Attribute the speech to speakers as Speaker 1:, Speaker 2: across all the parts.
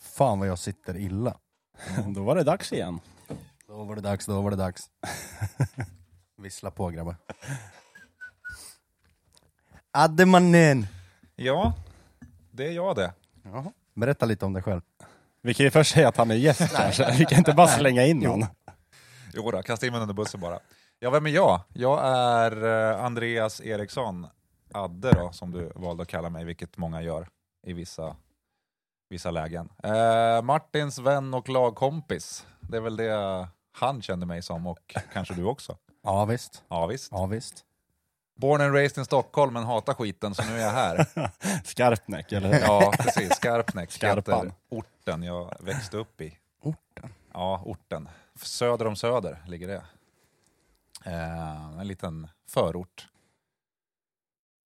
Speaker 1: fan vad jag sitter illa.
Speaker 2: Då var det dags igen.
Speaker 1: Då var det dags, då var det dags. Vissla på grabbar. Ademanen!
Speaker 3: Ja, det är jag det.
Speaker 1: Berätta lite om dig själv.
Speaker 2: Vi kan ju först säga att han är gäst kanske. Vi kan inte bara slänga in honom.
Speaker 3: Jo då, kasta in mig under bussen bara. Ja, vem är jag? Jag är eh, Andreas Eriksson, Adde då, som du valde att kalla mig, vilket många gör i vissa, vissa lägen. Eh, Martins vän och lagkompis, det är väl det han kände mig som och kanske du också.
Speaker 1: Ja visst.
Speaker 3: Ja, visst.
Speaker 1: Ja, visst.
Speaker 3: Born and raised in Stockholm men hatar skiten så nu är jag här.
Speaker 2: Skarpnäck, eller hur?
Speaker 3: Ja, precis. Skarpnäck
Speaker 2: Skarpan.
Speaker 3: heter orten jag växte upp i. Orten? Ja, orten. Söder om Söder ligger det. Eh, en liten förort.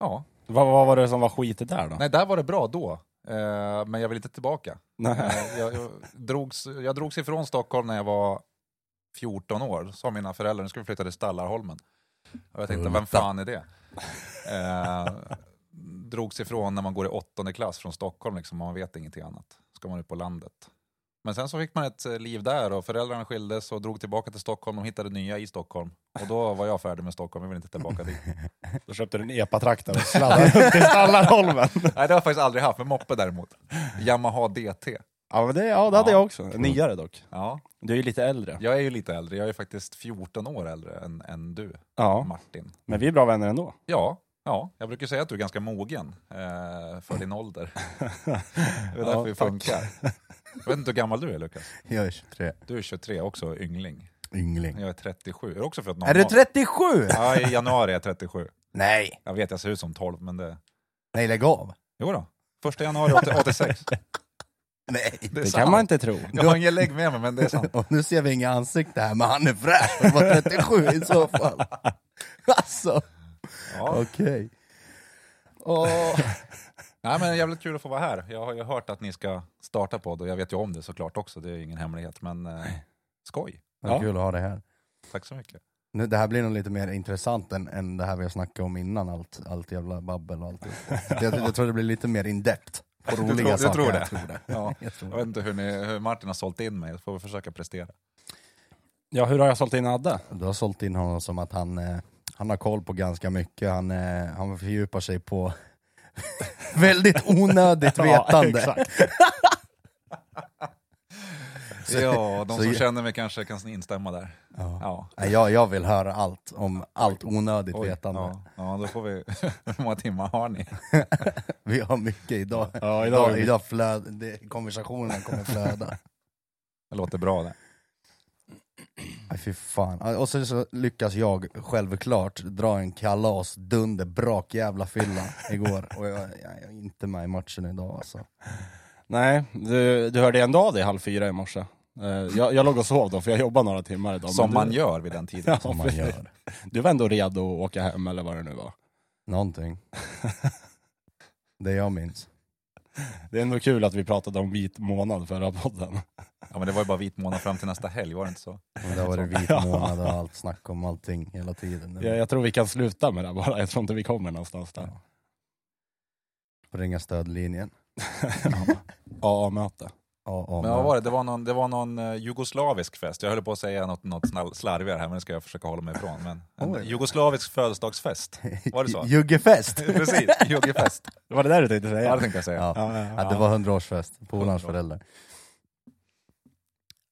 Speaker 3: Ja,
Speaker 2: Vad, vad var det som var skitet där då?
Speaker 3: nej där var det bra då. Eh, men jag vill inte tillbaka. Eh, jag, jag, drogs, jag drogs ifrån Stockholm när jag var 14 år, sa mina föräldrar. Nu ska vi flytta till Stallarholmen. Och jag tänkte, vem fan är det? Eh, drogs ifrån när man går i åttonde klass från Stockholm, liksom, man vet ingenting annat. Ska man ut på landet. Men sen så fick man ett eh, liv där och föräldrarna skildes och drog tillbaka till Stockholm. De hittade nya i Stockholm. Och då var jag färdig med Stockholm, jag ville inte tillbaka dit.
Speaker 2: Då köpte du en epatraktor och sladdade upp till Stallarholmen.
Speaker 3: Nej, det har jag faktiskt aldrig haft, men moppe däremot. Yamaha DT.
Speaker 2: Ja, men det, ja, det hade
Speaker 3: Ja. Mm.
Speaker 2: jag också. Nyare dock.
Speaker 3: Ja,
Speaker 2: Du är ju lite äldre.
Speaker 3: jag är ju lite äldre, jag är faktiskt 14 år äldre än, än du,
Speaker 2: Ja,
Speaker 3: Martin.
Speaker 2: men vi är bra vänner ändå.
Speaker 3: Ja, ja, jag brukar säga att du är ganska mogen eh, för din ålder. Det är därför
Speaker 2: Ja,
Speaker 3: vi
Speaker 2: tack.
Speaker 3: funkar. Jag vet inte hur gammal du är Lukas.
Speaker 1: Jag är 23.
Speaker 3: Du är 23, också yngling.
Speaker 1: Yngling.
Speaker 3: Jag är 37. Är du också född någon
Speaker 1: Är du
Speaker 3: gång?
Speaker 1: 37?
Speaker 3: Ja, i januari är jag 37.
Speaker 1: Nej.
Speaker 3: Jag vet, jag ser ut som 12, men det...
Speaker 1: Nej, lägg av.
Speaker 3: Jo då. Första januari 80 86.
Speaker 1: Nej.
Speaker 3: är
Speaker 2: Det kan
Speaker 3: sant.
Speaker 2: man inte tro.
Speaker 3: Jag har ingen lägg med mig, men det är sant.
Speaker 1: Och nu ser vi inga ansikten här, men han är fräsch. Han var 37 i så fall. Alltså,
Speaker 3: Ja.
Speaker 1: okej. Åh.
Speaker 3: Nej, men jävligt kul att få vara här. Jag har ju hört att ni ska starta podd och jag vet ju om det såklart också. Det är ingen hemlighet, men eh, skoj.
Speaker 1: Vad
Speaker 2: Ja.
Speaker 1: kul att ha det här.
Speaker 3: Tack så mycket.
Speaker 1: Nu, det här blir nog lite mer intressant än, än det här vi har snackat om innan, allt, allt jävla babbel och allt. Jag, jag, jag tror det blir lite mer in-depth på roliga
Speaker 3: tror- du
Speaker 1: saker.
Speaker 3: tror det?
Speaker 1: Jag tror det.
Speaker 3: Ja.
Speaker 1: Jag tror
Speaker 3: Jag vet inte hur, ni, hur Martin har sålt in mig, får vi försöka prestera.
Speaker 2: Ja, hur har jag sålt in Adde?
Speaker 1: Du har sålt in honom som att han, eh, han har koll på ganska mycket, han, eh, han fördjupar sig på väldigt onödigt
Speaker 2: Ja,
Speaker 1: vetande.
Speaker 2: exakt.
Speaker 3: Ja, de
Speaker 1: så-
Speaker 3: som känner mig kanske kan instämma där.
Speaker 1: Ja.
Speaker 3: Ja.
Speaker 1: Nej, jag, jag vill höra allt om allt onödigt
Speaker 3: Oj,
Speaker 1: vetande.
Speaker 3: Ja, ja, då får vi... Hur många timmar har ni?
Speaker 1: Vi har mycket idag.
Speaker 2: Ja, idag har
Speaker 1: idag,
Speaker 2: vi-
Speaker 1: idag flöd, det, konversationen kommer flöda.
Speaker 3: Det låter bra det.
Speaker 1: Nej fy fan. Och sen så lyckas jag självklart dra en kalas dunder brak jävla fylla igår. Och jag, jag, jag är inte med i matchen idag alltså.
Speaker 2: Nej, du, du hörde ändå av dig halv fyra i morse. Eh, Jag, jag låg och sov då, för jag jobbade några timmar idag. men
Speaker 3: Som
Speaker 2: du,
Speaker 3: man gör vid den tiden.
Speaker 2: Ja, precis. Du var ändå redo att åka hem, eller vad det nu var.
Speaker 1: Någonting. Det jag minns.
Speaker 2: Det är ändå kul att vi pratade om vit månad förra podden.
Speaker 3: Ja, men det var ju bara vit månad fram till nästa helg, var det inte så?
Speaker 1: Och där var det vit månad och allt snack om allting hela tiden.
Speaker 2: Jag, jag tror vi kan sluta med det här bara, jag tror inte vi kommer någonstans där.
Speaker 1: Får ringa stödlinjen.
Speaker 2: AA-möte.
Speaker 1: Ja, ja,
Speaker 3: Men vad var det? Det var någon, det var någon eh, jugoslavisk fest. Jag höll på att säga något, något snall- slarvigare här, men det ska jag försöka hålla mig ifrån. Men en
Speaker 1: Oj.
Speaker 3: jugoslavisk födelsedagsfest. Var det så?
Speaker 1: Juggefest!
Speaker 3: Precis, juggefest.
Speaker 2: Det var det där du tänkte säga?
Speaker 3: Ja, det tänkte jag säga.
Speaker 1: Ja.
Speaker 2: Ja, ja,
Speaker 1: Ja, det var hundraårsfest, polarns föräldrar.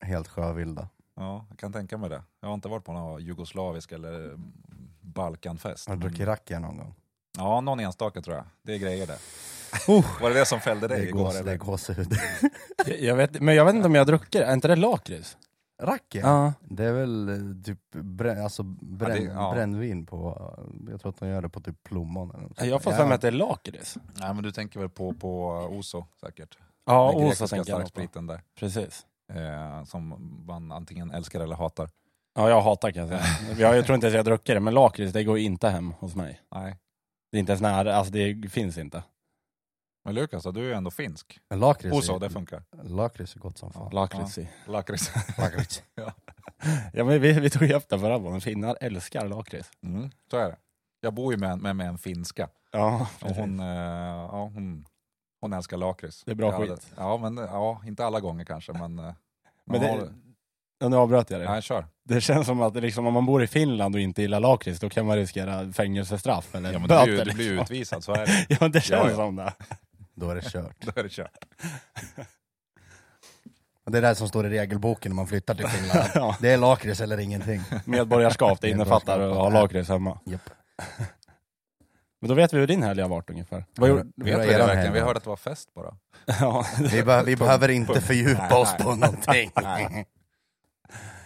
Speaker 1: Helt sjövilda.
Speaker 3: Ja, jag kan tänka mig det. Jag har inte varit på någon jugoslavisk eller mm, Balkanfest.
Speaker 1: Har du
Speaker 3: Mm.
Speaker 1: druckit rakia någon gång?
Speaker 3: Ja, någon enstaka tror jag. Det är grejer det.
Speaker 1: Oh,
Speaker 3: Var det det som fällde
Speaker 1: det
Speaker 3: dig
Speaker 1: är
Speaker 3: igår?
Speaker 1: gås- det
Speaker 3: eller?
Speaker 1: är gåshud.
Speaker 2: jag, jag vet, men jag vet inte om jag dricker, är inte det lakrits?
Speaker 1: Rakia?
Speaker 2: Ja.
Speaker 1: Det är väl eh, typ brä, alltså bränn,
Speaker 3: Ja, det- ja.
Speaker 1: brännvin på, eh, jag tror att de gör det på typ plommon eller något sånt.
Speaker 2: Jag har fått
Speaker 1: Ja.
Speaker 2: för mig att det är lakrits.
Speaker 3: Nej, men du tänker väl på, på Oso säkert?
Speaker 2: Ja,
Speaker 3: Den
Speaker 2: och
Speaker 3: grekiska
Speaker 2: så tänker jag nog på.
Speaker 3: starkspriten där.
Speaker 2: Precis.
Speaker 3: Eh, som man antingen älskar eller hatar.
Speaker 2: Ja, jag hatar kan jag säga. Jag, jag tror inte ens jag dricker det, men lakrits det går ju inte hem hos mig.
Speaker 3: Nej.
Speaker 2: Det är inte ens nära, alltså det finns inte.
Speaker 3: Men Lukas, då, du är ju ändå finsk.
Speaker 1: Men Lakrits
Speaker 3: Oso,
Speaker 1: är,
Speaker 3: det funkar.
Speaker 1: lakrits är gott som fan.
Speaker 2: Lakrits i.
Speaker 3: Lakrits.
Speaker 1: Lakrits.
Speaker 2: Ja, men vi, vi tog ju upp det förra gången, finnar älskar lakrits.
Speaker 3: Mm, så är det. Jag bor ju med, en- med, med en finska.
Speaker 2: Ja,
Speaker 3: Och hon, eh, ja, hon Hon älskar lakrits.
Speaker 2: Det är bra
Speaker 3: ja,
Speaker 2: skit.
Speaker 3: det- Ja, men ja, inte alla gånger kanske, men... eh,
Speaker 2: Men
Speaker 3: man har-
Speaker 2: det, ja, nu avbröt jag det.
Speaker 3: Nej, kör.
Speaker 2: Det känns som att liksom, om man bor i Finland och inte gillar lakrits, då kan man riskera fängelsestraff eller
Speaker 3: Ja, men du,
Speaker 2: böter.
Speaker 3: blir ju- du blir ju
Speaker 2: liksom.
Speaker 3: utvisad, så är det.
Speaker 2: ja, men det känns
Speaker 3: Ja, ja.
Speaker 2: som det.
Speaker 1: Då är det kört.
Speaker 3: Då är det kört.
Speaker 1: Och det är det här som står i regelboken när man flyttar till Finland.
Speaker 2: Ja.
Speaker 1: Det är lakrits eller ingenting.
Speaker 2: Medborgarskap, det innefattar att
Speaker 1: Medborgarskap.
Speaker 2: ha lakrits hemma.
Speaker 1: Japp.
Speaker 2: Men då vet vi hur din helg har varit ungefär. Vad gjorde...
Speaker 1: Hur
Speaker 3: Vet
Speaker 1: har
Speaker 3: vi
Speaker 1: eran
Speaker 3: det
Speaker 1: helg
Speaker 3: verkligen? Vi
Speaker 1: varit?
Speaker 3: hörde att det var fest bara.
Speaker 2: ja.
Speaker 1: Vi, be- vi behöver inte fördjupa oss på någonting.
Speaker 2: Nej.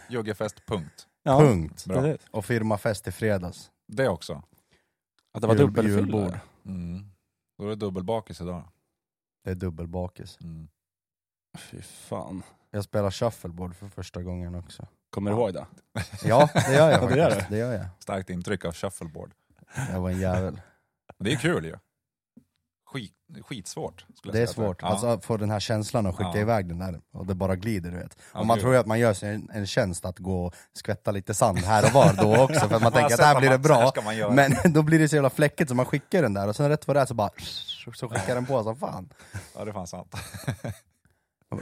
Speaker 3: Juggefest, punkt.
Speaker 2: ja.
Speaker 1: Punkt.
Speaker 3: Bra.
Speaker 2: Precis.
Speaker 1: Och firmafest i fredags.
Speaker 3: Det också.
Speaker 2: Att det var
Speaker 1: Jul-
Speaker 2: dubbelfylla.
Speaker 1: julbord.
Speaker 3: Mm. Då är det dubbelbakis idag.
Speaker 1: Det är dubbelbakis.
Speaker 3: Mm.
Speaker 2: Fy fan.
Speaker 1: Jag spelar shuffleboard för första gången också.
Speaker 2: Kommer du ihåg det?
Speaker 1: Ja, det gör jag
Speaker 2: Ja, det gör
Speaker 1: faktiskt. Det gör jag.
Speaker 3: Starkt intryck av shuffleboard.
Speaker 1: Jag var en jävel.
Speaker 3: Men det är kul ju. Skit, skitsvårt. Skulle jag
Speaker 1: Det är
Speaker 3: säga att är.
Speaker 1: svårt.
Speaker 3: Ja.
Speaker 1: Alltså att få den här känslan och skicka
Speaker 3: Ja.
Speaker 1: iväg den där och det bara glider du vet.
Speaker 3: Ja,
Speaker 1: och man
Speaker 3: gud.
Speaker 1: tror ju att man gör sig en, en tjänst att gå och skvätta lite sand här och var då också för att man tänker att det här
Speaker 3: sätter
Speaker 1: blir det
Speaker 3: man- så här
Speaker 1: bra.
Speaker 3: ska man göra.
Speaker 1: Men då blir det så jävla fläckigt så man skickar den där och sen rätt vad det är så bara så skickar den på som fan.
Speaker 3: Ja, det är fan sant.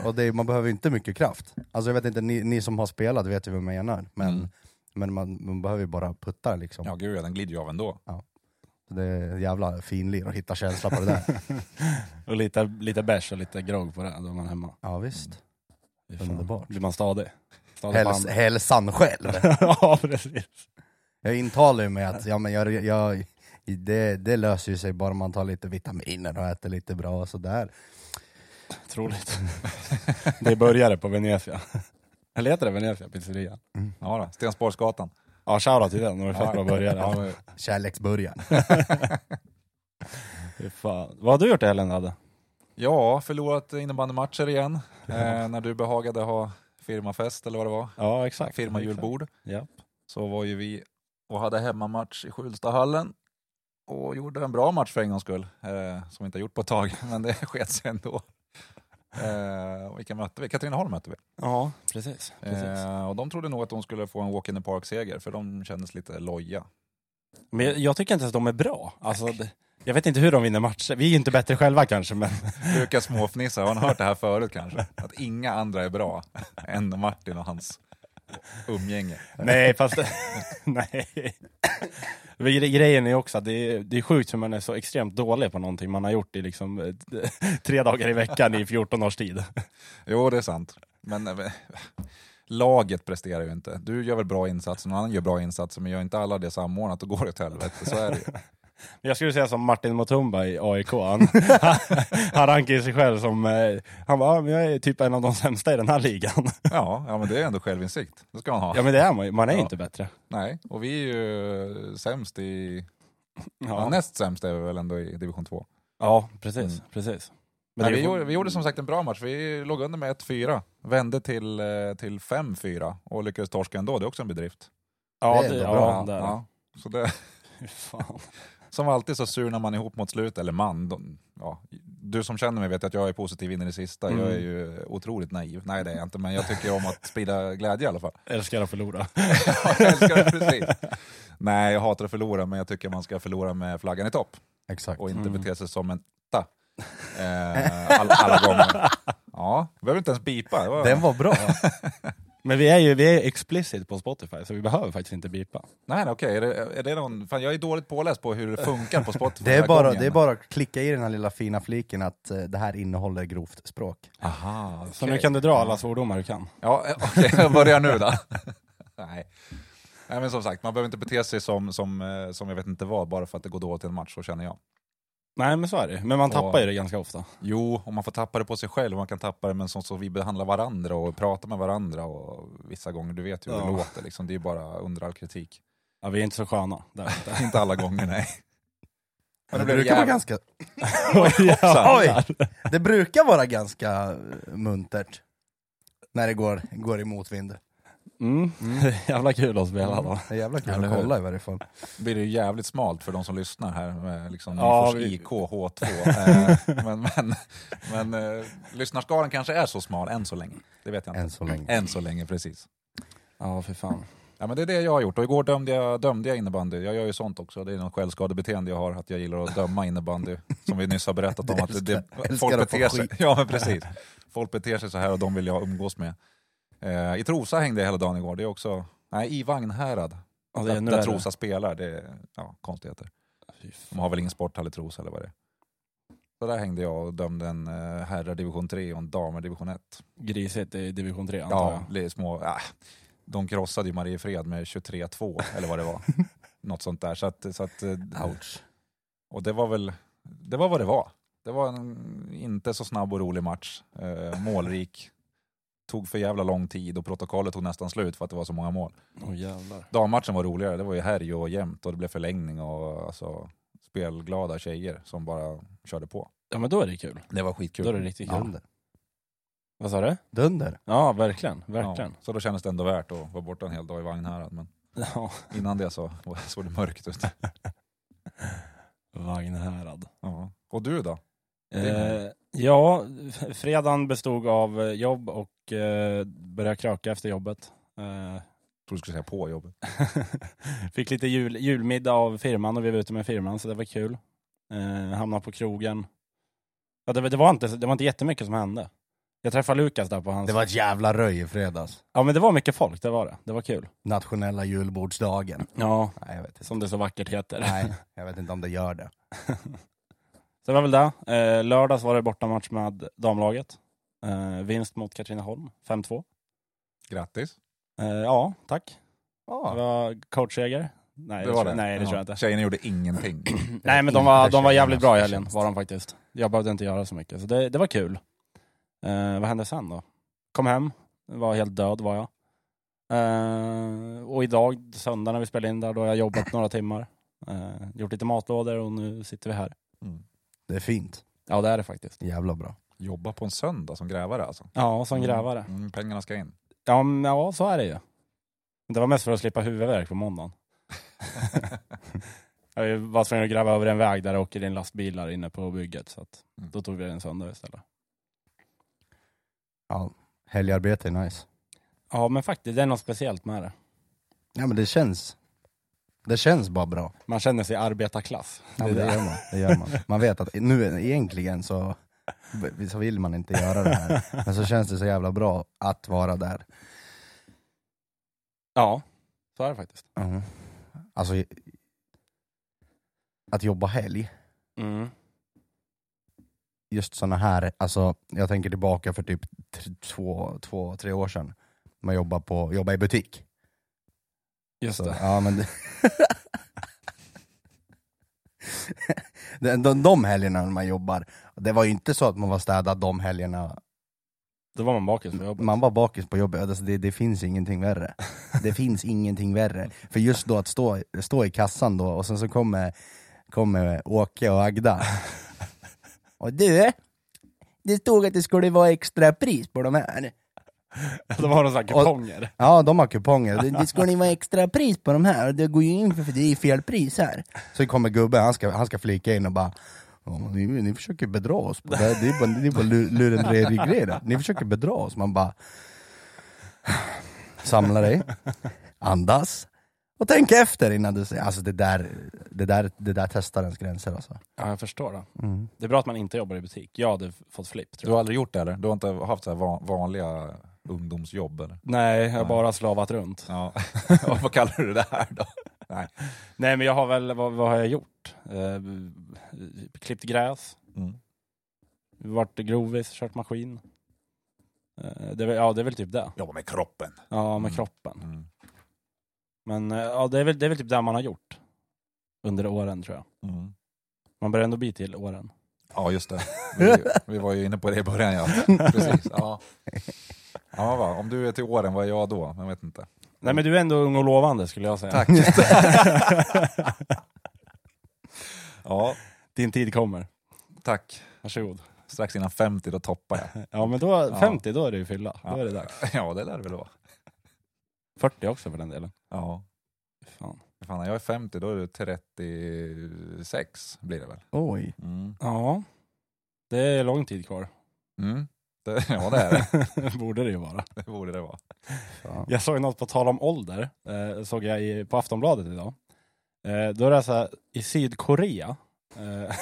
Speaker 1: Och det, är- man behöver ju inte mycket kraft. Alltså jag vet inte, ni, ni som har spelat vet ju vad jag menar. Men,
Speaker 3: Mm.
Speaker 1: men man, man behöver ju bara putta liksom.
Speaker 3: Ja, gud ja, den glider ju av ändå.
Speaker 1: Det är jävla finlir att hitta känsla på det där.
Speaker 2: Och lite, lite bärs och lite grogg på det, då är man hemma.
Speaker 1: Ja visst.
Speaker 2: Fy fan.
Speaker 1: Underbart.
Speaker 2: Blir man stadig. stadig på
Speaker 1: Häls,
Speaker 2: handen.
Speaker 1: hälsan själv.
Speaker 2: ja, precis.
Speaker 1: Jag intalar ju mig att ja, men jag, jag, det, det löser ju sig bara man tar lite vitaminer och äter lite bra och sådär.
Speaker 2: Troligt. det började på Venezia. Eller heter det Venezia pizzeria?
Speaker 3: Ja, då. Stensborgsgatan.
Speaker 2: Ja, shoutout till den, de är fett bra
Speaker 3: Ja,
Speaker 2: börjare.
Speaker 3: men-
Speaker 1: Kärleksburgare.
Speaker 2: Fy fan. Vad har du gjort i helgen Adde?
Speaker 3: ja, förlorat innebandymatcher igen. Eh, när du behagade ha firmafest eller vad det var.
Speaker 2: Ja, exakt.
Speaker 3: Firmajulbord.
Speaker 2: Ja.
Speaker 3: Så var ju vi och hade hemmamatch i Skjulstahallen. Och gjorde en bra match för en gångs skull. Eh, som vi inte har gjort på ett tag, men det sket sig ändå. Eh, och vilka mötte vi? Katrineholm mötte vi.
Speaker 2: Ja, precis. precis.
Speaker 3: Eh, och de trodde nog att de skulle få en walk in the park-seger, för de kändes lite loja.
Speaker 2: Men jag, jag tycker inte att de är bra. Alltså, det, jag vet inte hur de vinner matcher. Vi är ju inte bättre själva kanske, men
Speaker 3: Lukas småfnissar, har han hört det här förut kanske? Att inga andra är bra än Martin och hans umgänge.
Speaker 2: nej, fast nej. Men gre- Grejen är också att det är, det är sjukt hur man är så extremt dålig på någonting man har gjort i liksom eh, tre dagar i veckan i 14 års tid.
Speaker 3: Jo, det är sant. Men eh, laget presterar ju inte. Du gör väl bra insatser, någon annan gör bra insatser, men gör inte alla det samordnat, då går det åt helvete. Så är det ju.
Speaker 2: Jag skulle säga som Martin Mutumba i AIK. Han, han rankar ju sig själv som, eh, han bara, "Ja, men jag är typ en av de sämsta i den här ligan.
Speaker 3: Ja, ja, men det är ändå självinsikt. Det ska man ha.
Speaker 2: Ja men det är man ju, man är ju
Speaker 3: Ja.
Speaker 2: inte bättre.
Speaker 3: Nej, och vi är ju sämst i... Ja.
Speaker 2: Ja,
Speaker 3: Näst sämst är vi väl ändå i division 2.
Speaker 2: ja precis,
Speaker 3: Mm.
Speaker 2: precis. Men
Speaker 3: Nej,
Speaker 2: det
Speaker 3: vi,
Speaker 2: är ju-
Speaker 3: gjorde, vi gjorde som sagt en bra match. Vi låg under med 1-4, vände till, eh, till 5-4 och lyckades torska ändå. Det är också en bedrift.
Speaker 2: ja,
Speaker 1: Det
Speaker 2: det,
Speaker 1: är ändå
Speaker 2: ja, där.
Speaker 3: ja. Så det,
Speaker 2: Fy Fan.
Speaker 3: som alltid så surnar man ihop mot slut, eller man. De, ja, du som känner mig vet att jag är positiv in i det sista.
Speaker 2: Mm.
Speaker 3: Jag är ju otroligt naiv. Nej det är jag inte, men jag tycker om att sprida glädje i alla fall.
Speaker 2: Älskar att förlora.
Speaker 3: jag älskar det precis. Nej, jag hatar att förlora, men jag tycker man ska förlora med flaggan i topp
Speaker 1: Exakt.
Speaker 3: och inte
Speaker 2: Mm.
Speaker 3: bete sig som en ta. Eh, alla, alla gånger. Ja, jag behöver inte ens bipa. Det var-
Speaker 1: Den var bra.
Speaker 2: Men vi är ju vi är explicit på Spotify så vi behöver faktiskt inte bipa.
Speaker 3: Nej, nej, okej. Är det, är det någon... Fan, jag är dåligt påläst på hur det funkar på Spotify.
Speaker 1: Det är,
Speaker 3: den här
Speaker 1: bara,
Speaker 3: gången.
Speaker 1: det är bara att klicka i den här lilla fina fliken att eh, det här innehåller grovt språk.
Speaker 3: Aha,
Speaker 2: Så
Speaker 3: okej.
Speaker 2: nu kan du dra alla svordomar du kan.
Speaker 3: Ja, eh, okej. jag börjar nu då. nej. nej, men som sagt, man behöver inte bete sig som, som, eh, som jag vet inte vad, bara för att det går dåligt i en match, så känner jag.
Speaker 2: Nej men så är det ju. Men man
Speaker 3: Och-
Speaker 2: tappar ju det ganska ofta.
Speaker 3: Jo, och man får tappa det på sig själv, och man kan tappa det men som så vi behandlar varandra och pratar med varandra och vissa gånger, du vet ju hur det
Speaker 2: Ja.
Speaker 3: låter liksom. Det är ju bara under all kritik.
Speaker 2: Ja, vi är inte så sköna. Där.
Speaker 3: inte alla gånger, nej. Men
Speaker 1: Det
Speaker 3: det blev
Speaker 1: brukar, vara
Speaker 3: jävla-
Speaker 1: ganska,
Speaker 2: ja,
Speaker 1: oj, det brukar vara ganska eh, muntert när det går, går i motvind.
Speaker 2: mm. Jävla kul att spela då.
Speaker 1: Det är jävla kul
Speaker 3: Eller
Speaker 1: att
Speaker 3: hur?
Speaker 1: kolla i varje fall.
Speaker 3: blir det ju jävligt smalt för de som lyssnar här med liksom
Speaker 2: Ja,
Speaker 3: Nyfors
Speaker 2: vi-
Speaker 3: IK H2. Eh, men men, men eh, lyssnarskaran kanske är så smal än så länge. Det vet jag inte.
Speaker 1: Än så länge.
Speaker 3: Än så länge, precis.
Speaker 2: Ja för fan.
Speaker 3: Ja, men det är det jag har gjort och igår dömde jag, dömde jag innebandy. Jag gör ju sånt också, det är något självskadebeteende jag har, att jag gillar att döma innebandy. Som vi nyss har berättat om, att det,
Speaker 1: älskar
Speaker 3: folk,
Speaker 1: att få
Speaker 3: beter sig,
Speaker 1: skit.
Speaker 3: ja, men precis. folk beter sig så här och de vill jag umgås med. Eh, I Trosa hängde jag hela dagen igår, det är också, nej i Vagnhärad,
Speaker 2: Ja, det är
Speaker 3: där,
Speaker 2: ännu
Speaker 3: där
Speaker 2: värre.
Speaker 3: Trosa spelar, det är ja, konstigheter.
Speaker 2: Fy
Speaker 3: De har väl ingen sporthall i Trosa eller vad det är. Så där hängde jag och dömde en eh, herrar division 3 och en damer division 1.
Speaker 2: Grisigt i division 3 antar
Speaker 3: Ja,
Speaker 2: jag.
Speaker 3: li- små, äh, de krossade ju Mariefred med 23-2 eller vad det var. Något sånt där. Så att, så att, eh,
Speaker 1: Ouch.
Speaker 3: och det var väl det var vad det var. Det var en inte så snabb och rolig match. Eh, målrik. Tog för jävla lång tid och protokollet tog nästan slut för att det var så många mål.
Speaker 2: Åh jävlar.
Speaker 3: Dammatchen var roligare. Det var ju härj och jämnt och det blev förlängning och alltså, spelglada tjejer som bara körde på.
Speaker 2: Ja men då är det kul.
Speaker 3: Det var
Speaker 2: Då är
Speaker 3: skitkul.
Speaker 2: det riktigt kul.
Speaker 1: Dunder.
Speaker 2: Vad sa du?
Speaker 1: Dunder.
Speaker 2: Ja, verkligen.
Speaker 3: Ja,
Speaker 2: Verkligen.
Speaker 3: så då kändes det ändå värt att vara borta en hel dag i vagn här. Men
Speaker 2: Ja.
Speaker 3: innan det så såg det mörkt ut.
Speaker 2: Vagnhärad.
Speaker 3: Ja. Och du då?
Speaker 2: Eh, ja, f- fredagen bestod av eh, jobb och eh, började kröka efter jobbet. Eh,
Speaker 3: tror du skulle säga på jobbet.
Speaker 2: fick lite jul, julmiddag av firman och vi var ute med firman så det var kul. Eh, hamnade på krogen. Ja, det, var- det, var inte, det var inte jättemycket som hände. Jag träffade Lukas där på hans...
Speaker 1: Det var
Speaker 3: Alltså.
Speaker 1: ett jävla röj i fredags.
Speaker 2: Ja men det var mycket folk, det var det. Det var kul.
Speaker 1: Nationella julbordsdagen.
Speaker 2: Ja,
Speaker 1: Nej jag vet inte.
Speaker 2: som det så vackert heter.
Speaker 1: Nej, jag vet inte om det gör det.
Speaker 2: Så det var väl det. Eh, lördags var det bortamatch med damlaget. Eh, vinst mot Katrineholm, 5-2.
Speaker 3: Grattis.
Speaker 2: Eh, ja, tack. Det
Speaker 1: Ja,
Speaker 2: var coachseger. Nej, det, tror- nej, det tror jag inte.
Speaker 3: Tjejerna gjorde ingenting.
Speaker 2: Nej, men de var,
Speaker 1: inte
Speaker 2: de var jävligt bra i
Speaker 1: tjejernas
Speaker 2: helgen, var de faktiskt. Jag behövde inte göra så mycket, så det, det var kul. Eh, vad hände sen då? Kom hem, var helt död var jag. Eh, och idag, söndag när vi spelade in där, då har jag jobbat några timmar. Eh, gjort lite matlådor och nu sitter vi här.
Speaker 1: det är fint.
Speaker 2: Ja, det är det faktiskt.
Speaker 1: Jävla bra.
Speaker 3: Jobba på en söndag som grävare alltså.
Speaker 2: Ja, som grävare.
Speaker 3: Mm, pengarna ska in.
Speaker 2: Ja, men, ja, så är det ju. Men det var mest för att slippa huvudvärk på måndagen. jag var tvungen att gräva över en väg där det åker in lastbilar inne på bygget. Så att,
Speaker 3: Mm.
Speaker 2: då tog vi den söndag istället.
Speaker 1: Ja, helgarbete är nice.
Speaker 2: Ja, men faktiskt, det är något speciellt med det.
Speaker 1: Ja men det känns. Det känns bara bra.
Speaker 2: Man känner sig arbetarklass.
Speaker 1: Ja, men det, gör man, det gör man. Man vet att nu egentligen så, så vill man inte göra det här. Men så känns det så jävla bra att vara där.
Speaker 2: Ja, så är det faktiskt.
Speaker 1: Mm. Alltså, att jobba helg, just såna här, alltså jag tänker tillbaka för typ t- två, två tre år sedan. Man jobbar, på, jobbar i butik.
Speaker 2: Just
Speaker 1: Så,
Speaker 2: det.
Speaker 1: ja, men det... de, de, de helgerna när man jobbar, det var ju inte så att man var städad de helgerna
Speaker 2: Då var man bakis på jobbet.
Speaker 1: Man var bakis på jobbet, alltså det, det finns ingenting värre. Det finns ingenting värre. För just då att stå, stå i kassan då och sen så kommer, kommer Åke och Agda. Och du, det stod att det skulle vara extra pris på de här.
Speaker 2: Då var de så här kuponger.
Speaker 1: Ja, de har kuponger. Det, det skulle vara extra pris på de här. Det går ju in för för det är fel pris här. Så kommer gubben, han ska, han ska flika in och bara "Ja, men ni, ni försöker bedra oss, på det, här. det är bara, det är bara lu- lurendrejeri-grejer. där. Ni försöker bedra oss. Man bara... Samla dig, andas och tänk efter innan du säger... Alltså det där, det där, det där testar ens gränser alltså.
Speaker 2: Ja, jag förstår det.
Speaker 1: Mm.
Speaker 2: Det är bra att man inte jobbar i butik. Jag hade f- fått flipp
Speaker 3: Du
Speaker 2: tror jag.
Speaker 3: har aldrig gjort det eller? Du har inte haft så här va- vanliga ungdomsjobb eller?
Speaker 2: Nej, jag har
Speaker 3: Nej.
Speaker 2: bara slavat runt.
Speaker 3: Ja. vad kallar du det här då?
Speaker 2: Nej, men jag har väl, vad, vad har jag gjort? Eh, klippt gräs,
Speaker 3: Mm.
Speaker 2: varit grovis, kört maskin. Eh, det, är väl- ja, det är väl typ det.
Speaker 3: Jobba med kroppen.
Speaker 2: Ja, med
Speaker 3: Mm.
Speaker 2: kroppen.
Speaker 3: Mm.
Speaker 2: Men eh, ja, det, är väl, det är väl typ det man har gjort under åren tror jag.
Speaker 3: Mm.
Speaker 2: Man börjar ändå bli till åren.
Speaker 3: Ja just det. Vi, vi var ju inne på det i början ja. Precis. Ja. Ja, va. Om du är till åren, vad är jag då? Jag vet inte.
Speaker 2: Nej, men du är ändå ung och lovande skulle jag säga.
Speaker 3: Tack. Ja,
Speaker 2: Din tid kommer.
Speaker 3: tack.
Speaker 2: Varsågod.
Speaker 3: Strax innan 50 då toppar jag.
Speaker 2: Ja, men då, 50, då är det ju fylla.
Speaker 3: Ja.
Speaker 2: Då är det dags.
Speaker 3: Ja, det lär det väl vara.
Speaker 2: 40 också för den delen.
Speaker 3: Ja.
Speaker 2: Fan.
Speaker 3: Fan, när jag är 50 då är det 36 blir det väl?
Speaker 1: Oj.
Speaker 3: Mm.
Speaker 2: Ja, det är lång tid kvar.
Speaker 3: Mm. Det, ja det är det.
Speaker 2: Borde det ju vara.
Speaker 3: Det borde det vara.
Speaker 1: Fan.
Speaker 2: Jag såg något på tal om ålder, eh, såg jag i, på Aftonbladet idag. Eh, då är det så här, i Sydkorea. Eh,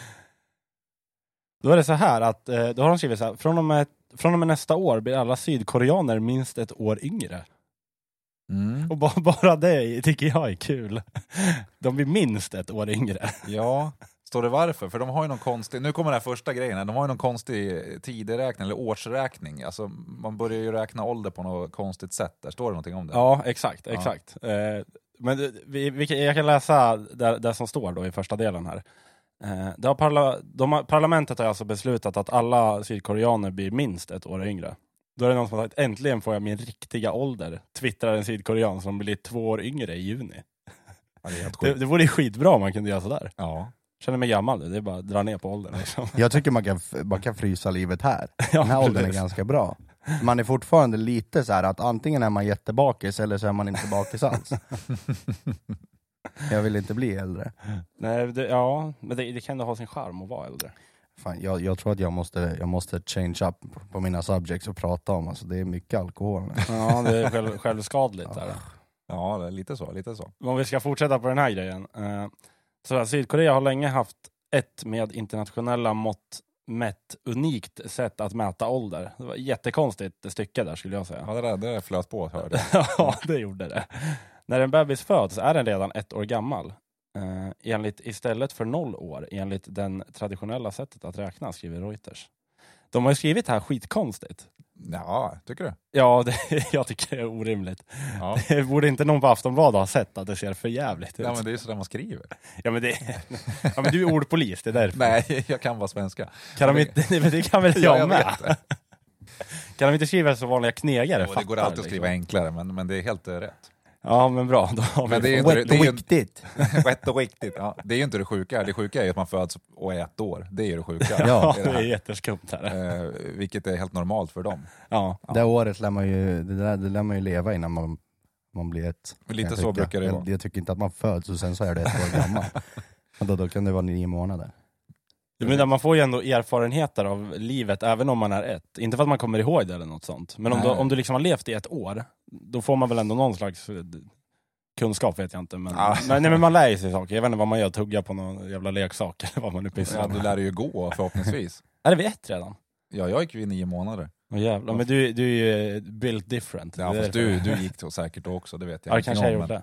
Speaker 2: då är det så här att, eh, då har de skrivit så här, från och, med, från och med nästa år blir alla sydkoreaner minst ett år yngre.
Speaker 3: Mm.
Speaker 2: Och ba, bara det tycker jag är kul. De blir minst ett år yngre.
Speaker 3: Ja, står det varför? För de har ju någon konstig, nu kommer den här första grejen, här. de har ju någon konstig tideräkning eller årsräkning. Alltså, man börjar ju räkna ålder på något konstigt sätt. Där står det någonting
Speaker 1: Typ.
Speaker 3: om det.
Speaker 2: Ja, exakt. exakt. Eh, men det- vi, vi, kan- jag kan läsa det, det som står då i första delen här. Eh, det har parla, de har, parlamentet har alltså beslutat att alla sydkoreaner blir minst ett år yngre. Då är det någon som har sagt äntligen får jag min riktiga ålder, twittrar en sydkorean som blir två år yngre i juni.
Speaker 3: Ja, det är helt
Speaker 2: Det,
Speaker 3: sjukt.
Speaker 2: det vore ju skitbra om man kunde göra sådär.
Speaker 3: Ja.
Speaker 2: Känner mig gammal nu, det är bara att dra ner på åldern. Liksom.
Speaker 1: Jag tycker man kan, f- man kan frysa livet här.
Speaker 2: Ja,
Speaker 1: Den här åldern är
Speaker 2: precis.
Speaker 1: ganska bra. Man är fortfarande lite så här att antingen är man jättebakis eller så är man inte bakis alls. Jag vill inte bli äldre.
Speaker 2: Nej, det, ja, men det, det kan ändå ha sin charm att vara äldre.
Speaker 1: Fan, jag, jag tror att jag måste, jag måste change up på mina subjects och prata om, alltså det är mycket alkohol nu.
Speaker 2: Ja, det är själv, självskadligt. Där.
Speaker 3: ja, det är lite så. Lite så.
Speaker 2: om vi ska fortsätta på den här grejen. Eh, Så här, Sydkorea har länge haft ett med internationella mått mätt unikt sätt att mäta ålder. Det var ett jättekonstigt stycke där skulle jag säga.
Speaker 3: Ja, det där, det där flöt på hörde jag.
Speaker 2: Ja, det gjorde det. När en bebis föds är den redan ett år gammal. Eh, Enligt, istället för noll år, enligt den traditionella sättet att räkna, skriver Reuters. De har ju skrivit det här skitkonstigt.
Speaker 3: Ja, tycker du?
Speaker 2: Ja, det, jag tycker det är orimligt.
Speaker 3: Ja.
Speaker 2: Borde inte någon på Aftonbladet ha sett att det ser för jävligt ut?
Speaker 3: Nej, men det är ju sådär man skriver.
Speaker 2: Ja men, det, ja men du är ordpolis, det är därför.
Speaker 3: Nej, jag kan bara svenska.
Speaker 2: Kan de inte, nej, men det kan väl jag,
Speaker 3: Ja, jag
Speaker 2: med?
Speaker 3: vet
Speaker 2: Kan de inte skriva så vanliga knegare
Speaker 3: Jo, det går
Speaker 2: fattar,
Speaker 3: alltid att skriva
Speaker 2: liksom.
Speaker 3: enklare, men, men det är helt eh, rätt.
Speaker 2: Ja men bra, då har
Speaker 3: Men
Speaker 2: vi
Speaker 3: det är ju inte det,
Speaker 1: Wet
Speaker 3: det är ju,
Speaker 1: viktigt!
Speaker 3: rätt och riktigt. Ja, det är ju inte det sjuka. Det sjuka är ju att man föds och är ett år. Det är ju det sjuka.
Speaker 2: Ja,
Speaker 3: i
Speaker 2: det är
Speaker 3: här.
Speaker 2: jätteskumt här.
Speaker 3: Eh, vilket är helt normalt för dem.
Speaker 2: Ja.
Speaker 1: Det året lär man ju, det där, det lär man ju leva innan man, man blir ett.
Speaker 3: Men lite
Speaker 1: kan jag
Speaker 3: så
Speaker 1: tycka.
Speaker 3: brukar det vara.
Speaker 1: jag, jag tycker inte att man föds och sen så är det ett år gammal. Och då, då kan det vara nio månader.
Speaker 2: Men man får ju ändå erfarenheter av livet även om man är ett. Inte för att man kommer ihåg det eller något sånt. Men om du,
Speaker 3: Nej.
Speaker 2: om du liksom har levt i ett år, då får man väl ändå någon slags eh, kunskap vet jag inte. Men,
Speaker 3: Ja.
Speaker 2: nej, nej men man lär ju sig saker. Jag vet inte vad man gör, tugga på någon jävla leksak eller vad man nu pysslar
Speaker 3: Ja,
Speaker 2: med.
Speaker 3: du lär dig ju gå förhoppningsvis.
Speaker 2: Är det vid ett redan?
Speaker 3: Ja, jag gick ju i nio månader.
Speaker 2: Åh jävlar, men du, du är ju eh, built different.
Speaker 3: Ja,
Speaker 2: Det är
Speaker 3: fast
Speaker 2: därför.
Speaker 3: du, du gick så säkert då också, det vet jag
Speaker 2: Ja, det
Speaker 3: ingenting
Speaker 2: kanske jag
Speaker 3: om,
Speaker 2: gjorde.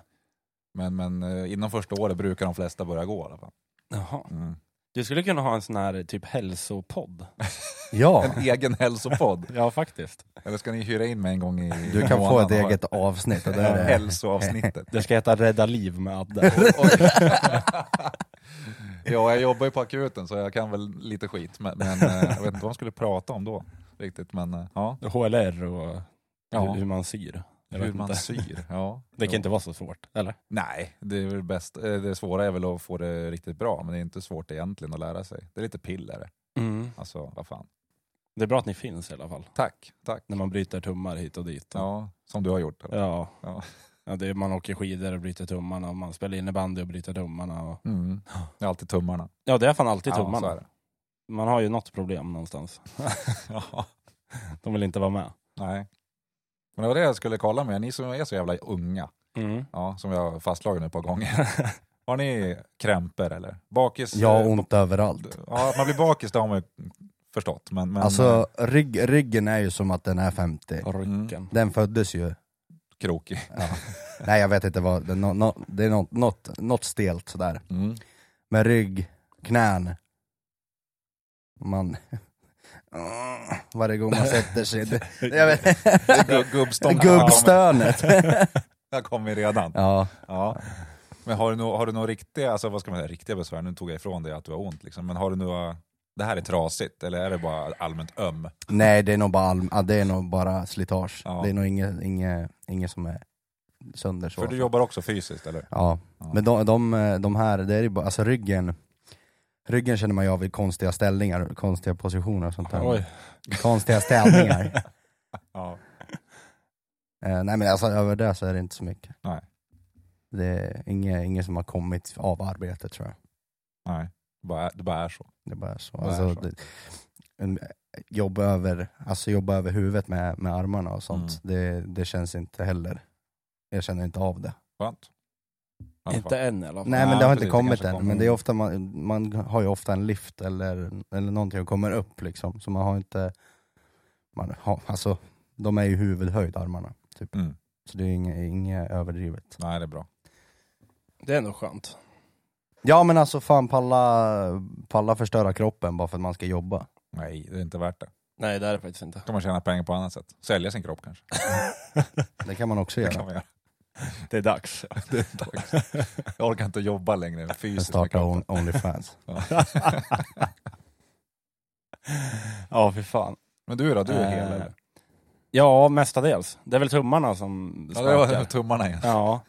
Speaker 3: men, men, men eh, innan första året brukar de flesta börja gå i alla fall.
Speaker 2: Jaha.
Speaker 3: Mm.
Speaker 2: Du skulle kunna ha en sån här typ hälsopodd.
Speaker 1: Ja!
Speaker 3: En egen hälsopodd.
Speaker 2: Ja, faktiskt.
Speaker 3: Eller ska ni hyra in mig en gång i
Speaker 1: Du kan få
Speaker 3: månaden?
Speaker 1: ett eget avsnitt. Och då är det,
Speaker 3: Hälsoavsnittet.
Speaker 2: Det ska heta Rädda liv med Adde.
Speaker 3: Och- ja, jag jobbar ju på akuten så jag kan väl lite skit, men, men eh, jag vet inte vad de skulle prata om då riktigt. Men eh, ja,
Speaker 2: HLR och
Speaker 3: Ja.
Speaker 2: hur, hur man syr. Jag
Speaker 3: hur
Speaker 2: vet
Speaker 3: man
Speaker 2: inte.
Speaker 3: syr. Ja.
Speaker 2: Det kan
Speaker 3: Jo.
Speaker 2: inte vara så svårt, eller?
Speaker 3: Nej, det, är väl bäst. eh, det svåra är väl att få det riktigt bra, men det är inte svårt egentligen att lära sig. Det är lite piller. Alltså, vad fan.
Speaker 2: Det är bra att ni finns i alla fall.
Speaker 3: Tack, tack.
Speaker 2: När man bryter tummar hit och dit.
Speaker 3: Ja, som du har gjort. eller?
Speaker 2: Ja.
Speaker 3: Ja.
Speaker 2: Ja, det är, man åker skidor och bryter tummarna och man spelar innebandy och bryter tummarna. Och...
Speaker 3: Mm. Det är alltid tummarna.
Speaker 2: Ja, det är fan alltid
Speaker 3: Ja, så
Speaker 2: tummarna.
Speaker 3: är det.
Speaker 2: man har ju något problem någonstans.
Speaker 3: Ja,
Speaker 2: De vill inte vara med.
Speaker 3: nej. Men det var det jag skulle kolla med. Ni som är så jävla unga, ja, som jag har fastslagit nu ett par gånger. Har ni krämpor eller? Bakis?
Speaker 1: jag har
Speaker 3: eh,
Speaker 1: ont överallt.
Speaker 3: Ja, att man blir bakis det har man ju förstått. Men, men eh,
Speaker 1: Alltså rygg, ryggen är ju som att den är 50.
Speaker 2: Ryggen.
Speaker 1: Den föddes ju,
Speaker 3: krokig.
Speaker 1: nej jag vet inte vad, det är, nå- nå- det är något, något, något stelt sådär.
Speaker 3: Mm.
Speaker 1: Men rygg, knän, man... Varje gång man sätter sig. Det, jag vet,
Speaker 3: Gu- Gubbstånd.
Speaker 1: gubbstönet.
Speaker 3: Jag kommer redan.
Speaker 1: Ja.
Speaker 3: Ja. Men har du några, har du några riktiga, alltså, vad ska man säga, riktiga besvär? Nu tog jag ifrån dig att du har ont. Liksom. Men har du några, det här är trasigt eller är det bara allmänt öm?
Speaker 1: Nej det är nog bara, all, ja, det är nog bara slitage.
Speaker 3: Ja.
Speaker 1: Det är nog inget, inget, inget som är sönder så. alltså.
Speaker 3: För du jobbar också fysiskt eller?
Speaker 1: Ja,
Speaker 3: Ja.
Speaker 1: men de, de, de här, det är ju bara, alltså ryggen, ryggen känner man ju av i konstiga ställningar, konstiga positioner och sånt där.
Speaker 2: Oj.
Speaker 1: Konstiga ställningar.
Speaker 3: Ja.
Speaker 1: eh, nej men alltså över det så är det inte så mycket.
Speaker 3: Nej.
Speaker 1: Det är inget, inget som har kommit av arbetet tror jag.
Speaker 3: Nej. bara, är- det bara är så.
Speaker 1: Det är bara så.
Speaker 3: Bara
Speaker 1: Alltså,
Speaker 3: är så.
Speaker 1: det, en, jobba, över, alltså jobba över huvudet med, med armarna och sånt, det, det känns inte heller. Jag känner inte av det.
Speaker 3: Skönt. Ja,
Speaker 2: Inte än i alla fall.
Speaker 1: Nej men
Speaker 3: Nej,
Speaker 1: det har
Speaker 3: precis,
Speaker 1: inte
Speaker 3: det
Speaker 1: kommit
Speaker 3: kanske
Speaker 1: än,
Speaker 3: kommer.
Speaker 1: men det är ofta man, man har ju ofta en lift eller, eller någonting och kommer upp liksom, så man har inte, man har, alltså de är ju huvudhöjd armarna. Typ.
Speaker 3: Mm.
Speaker 1: Så det är ju inget, inget överdrivet.
Speaker 3: Nej, det är bra.
Speaker 2: Det är ändå skönt.
Speaker 1: Ja men alltså fan palla, palla förstöra kroppen bara för att man ska jobba.
Speaker 3: Nej, det är inte värt det.
Speaker 2: Nej det är det faktiskt inte.
Speaker 3: Då kan man tjäna pengar på annat sätt. Sälja sin kropp kanske.
Speaker 1: Det kan man också
Speaker 3: Det kan
Speaker 1: göra.
Speaker 3: man göra.
Speaker 2: Det är dags.
Speaker 3: Det är dags. Jag orkar inte jobba längre fysiskt. med
Speaker 1: Starta
Speaker 3: kroppen.
Speaker 1: on, Onlyfans.
Speaker 2: Ja fy fan.
Speaker 3: Men du då, du är
Speaker 2: Eh,
Speaker 1: Äh,
Speaker 3: hel eller?
Speaker 2: Ja, mestadels. Det är väl tummarna som
Speaker 3: Ja, det var
Speaker 2: sparkar.
Speaker 3: tummarna igen.
Speaker 2: Ja.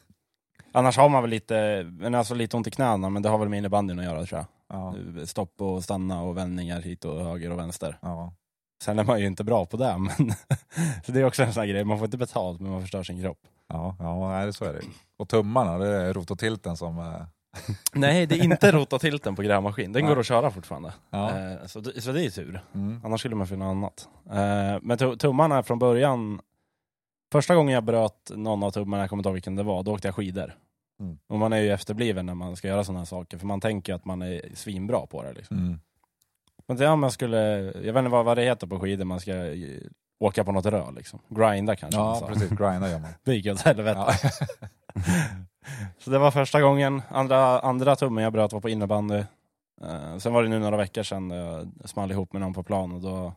Speaker 2: Annars har man väl lite, men alltså lite ont i knäna, men det har väl med innebandyn att göra tror jag. Eh,
Speaker 3: Ja.
Speaker 2: Stopp och stanna och vändningar hit och höger och vänster.
Speaker 3: Ja.
Speaker 2: Sen är man ju inte bra på det, men så det är också en sån här grej, man får inte betalt men man förstör sin kropp.
Speaker 3: Ja, ja nej, det- så är det ju. Och tummarna, det är rototilten som... eh,
Speaker 2: Nej, det är inte rotatilten på grävmaskin, den
Speaker 3: Nej.
Speaker 2: går att köra fortfarande.
Speaker 3: Ja.
Speaker 2: Eh, Så, det- så det är tur.
Speaker 3: Mm.
Speaker 2: Annars skulle man få något annat. Eh, Men tu- tummarna från början, första gången jag bröt någon av tummarna, jag kommer inte ihåg vilken det var, då åkte jag skidor.
Speaker 3: Mm.
Speaker 2: Och man är ju efterbliven när man ska göra sådana här saker, för man tänker ju att man är svinbra på det. Liksom.
Speaker 3: Mm.
Speaker 2: Men det, om jag skulle, jag vet inte vad, vad det heter på skidor, man ska eh, åka på något rör liksom. Grinda kanske man
Speaker 3: Ja,
Speaker 2: sa.
Speaker 3: precis. Grinda gör man.
Speaker 2: Det gick åt helvete.
Speaker 3: Ja.
Speaker 2: Så det var första gången. Andra, andra tummen jag bröt var på innebandy. Eh, sen var det nu några veckor sedan jag small ihop med någon på plan och då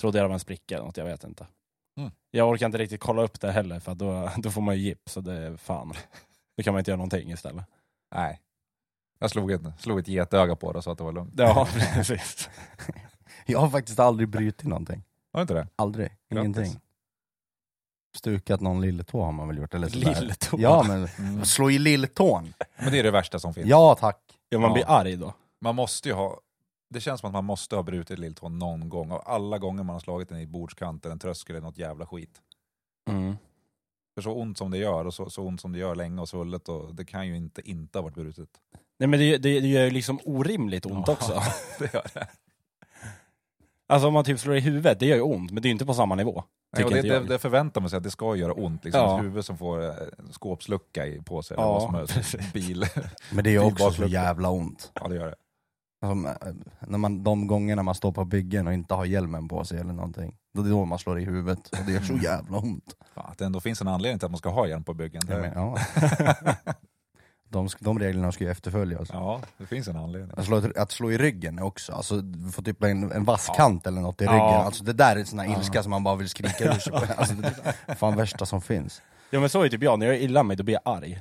Speaker 2: trodde jag det var en spricka eller något, jag vet inte.
Speaker 3: Mm.
Speaker 2: Jag orkar inte riktigt kolla upp det heller för att då, då får man ju gips och det är fan. Då kan man inte göra någonting istället.
Speaker 3: Nej. Jag slog ett, slog ett getöga på det och sa att det var lugnt.
Speaker 2: Ja, precis.
Speaker 1: Jag har faktiskt aldrig brutit någonting.
Speaker 3: Var det inte det?
Speaker 1: Aldrig.
Speaker 3: Grattis.
Speaker 1: Ingenting. Stukat någon lilletå har man väl gjort eller sådär.
Speaker 2: Lilltå.
Speaker 1: Ja men,
Speaker 3: Mm.
Speaker 1: slå i lilltån.
Speaker 3: Men det är det värsta som finns.
Speaker 1: Ja tack.
Speaker 2: ja, man blir
Speaker 3: Ja.
Speaker 2: arg då.
Speaker 3: Man måste ju ha... Det känns som att man måste ha brutit lilltån någon gång. Och alla gånger man har slagit den i bordskanten, en tröskel eller något jävla skit.
Speaker 2: Mm.
Speaker 3: För så ont som det gör, och så, så ont som det gör länge och svullet, och det kan ju inte inte ha varit brutet.
Speaker 2: Nej men det, det, det gör ju liksom orimligt ont
Speaker 3: Ja.
Speaker 2: också.
Speaker 3: Det gör det.
Speaker 2: Alltså om man typ slår i huvudet, det gör ju ont, men det är ju inte på samma nivå.
Speaker 3: Nej, och
Speaker 2: Tycker inte
Speaker 3: det, det,
Speaker 2: jag.
Speaker 3: det förväntar man sig att det ska göra ont. Liksom.
Speaker 2: Ja.
Speaker 3: Ett huvud som får eh, skåpslucka i, på sig.
Speaker 2: Ja,
Speaker 3: eller vad som helst.
Speaker 2: precis.
Speaker 3: Bil.
Speaker 1: Men det är ju också så
Speaker 3: Bilbaklucka.
Speaker 1: jävla ont.
Speaker 3: Ja, det gör det.
Speaker 1: Alltså, eh, när man, de gångerna man står på byggen och inte har hjälmen på sig eller någonting. Då det är då man slår i huvudet och det gör så jävla ont.
Speaker 3: Ja, att det ändå finns en anledning till att man ska ha hjälm på byggen.
Speaker 1: Jag men,
Speaker 3: Det,
Speaker 1: ja. de, sk- de reglerna ska ju efterföljas.
Speaker 3: ja, det finns en anledning.
Speaker 1: Att slå, att slå i ryggen också, alltså du får typ en, en vass kant eller något i
Speaker 2: Ja.
Speaker 1: ryggen. Alltså det där är sån här ilska som man bara vill skrika ur sig på. Alltså, det är fan värsta som finns.
Speaker 2: Ja men så är typ jag, när jag är illa mig då blir jag arg.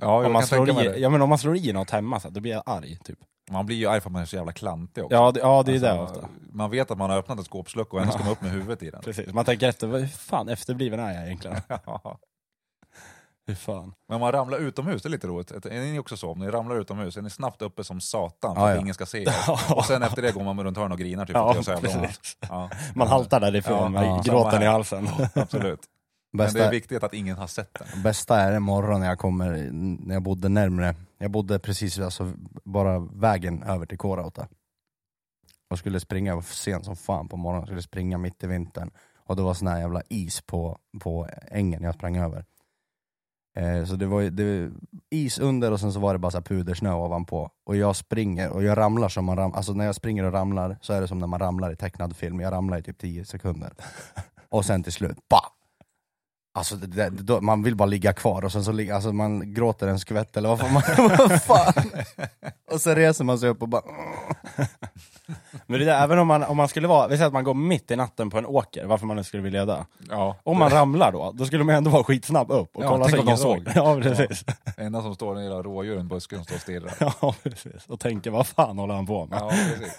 Speaker 3: Ja,
Speaker 2: Om
Speaker 3: jag
Speaker 2: man,
Speaker 3: kan
Speaker 2: slår
Speaker 3: tänka mig
Speaker 2: i,
Speaker 3: det.
Speaker 2: ja, men om man slår i något hemma, så här, då blir jag arg. Typ.
Speaker 3: Man blir ju arg för att man är så jävla klantig också.
Speaker 2: Ja, det, ja, det är
Speaker 3: Alltså,
Speaker 2: det ofta.
Speaker 3: Man vet att man har öppnat en skåpslucka och ändå ska man upp med huvudet i den.
Speaker 2: Precis. Man tänker efter, vad- hur fan efterbliven är jag egentligen?
Speaker 3: Ja.
Speaker 2: Hur fan?
Speaker 3: Men man ramlar utomhus, det är lite roligt. Är ni också så? Om ni ramlar utomhus är ni snabbt uppe som satan för
Speaker 1: Ja,
Speaker 3: att
Speaker 1: ja.
Speaker 3: ingen ska se er. Och sen efter det går man runt hörnet och grinar typ. för att
Speaker 2: ja,
Speaker 3: det gör så jävla ont.
Speaker 2: precis.
Speaker 3: ja,
Speaker 2: Man haltar därifrån
Speaker 3: Ja,
Speaker 2: med
Speaker 1: ja.
Speaker 2: gråten
Speaker 3: Samma
Speaker 2: i
Speaker 3: här.
Speaker 2: halsen.
Speaker 3: Absolut. Men det
Speaker 1: Bästa,
Speaker 3: är viktigt att ingen har sett den.
Speaker 1: Bästa är en morgon när jag kommer, när jag bodde närmre, jag bodde precis alltså, bara vägen över till Kårauta. Och skulle springa, jag var sen som fan på morgonen, skulle springa mitt i vintern. Och det var sån här jävla is på, på ängen jag sprang över. Eh, så det var, ju- det, is under och sen så var det bara så här pudersnö ovanpå. Och jag springer och jag ramlar som man ramlar, alltså när jag springer och ramlar så är det som när man ramlar i tecknad film, jag ramlar i typ 10 sekunder. Och sen till slut, bah! Alltså det, det, då, man vill bara ligga kvar och sen så ligger, alltså man gråter en skvätt eller vad fan, man, vad fan. Och sen reser man sig upp och bara
Speaker 2: Men det är, även om man, om man skulle vara, vi säger att man går mitt i natten på en åker, varför man nu skulle vilja det.
Speaker 3: Ja,
Speaker 2: Om man ramlar då, då skulle man ändå vara skitsnabb upp och
Speaker 3: Ja,
Speaker 2: kolla
Speaker 3: tänk
Speaker 2: så
Speaker 3: om de
Speaker 2: ingen
Speaker 3: såg.
Speaker 2: Ja, precis.
Speaker 3: enda som står är den lilla rådjuren i busken som står och stirrar.
Speaker 2: Ja, precis. Och tänker, vad fan håller han på med?
Speaker 3: Ja, precis.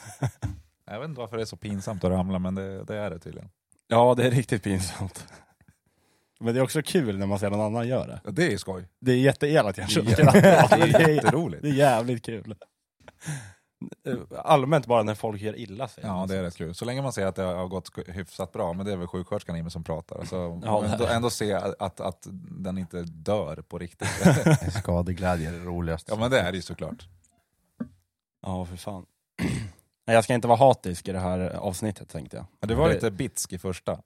Speaker 3: Jag vet inte varför det är så pinsamt att ramla, men det, det är det tydligen.
Speaker 2: Ja, det är riktigt pinsamt. Men det är också kul när man ser någon annan göra det.
Speaker 3: Ja, Det är ju skoj.
Speaker 2: Det är jätteelakt kanske.
Speaker 3: Det är
Speaker 2: det, är,
Speaker 3: Jätteroligt.
Speaker 2: det är jävligt kul. Allmänt bara när folk gör illa sig.
Speaker 3: Ja, det är rätt kul. Så länge man ser att det har gått sk- hyfsat bra, men det är väl sjuksköterskan i mig som pratar. Så
Speaker 2: Ja, det är
Speaker 3: ändå,
Speaker 2: det.
Speaker 3: ändå se att, att den inte dör på riktigt.
Speaker 1: Skadeglädje är det roligaste.
Speaker 3: Ja, men det är det ju såklart.
Speaker 2: Ja, för fan. Nej, jag ska inte vara hatisk i det här avsnittet tänkte jag.
Speaker 3: Men du var
Speaker 2: Det-
Speaker 3: lite bitsk i första.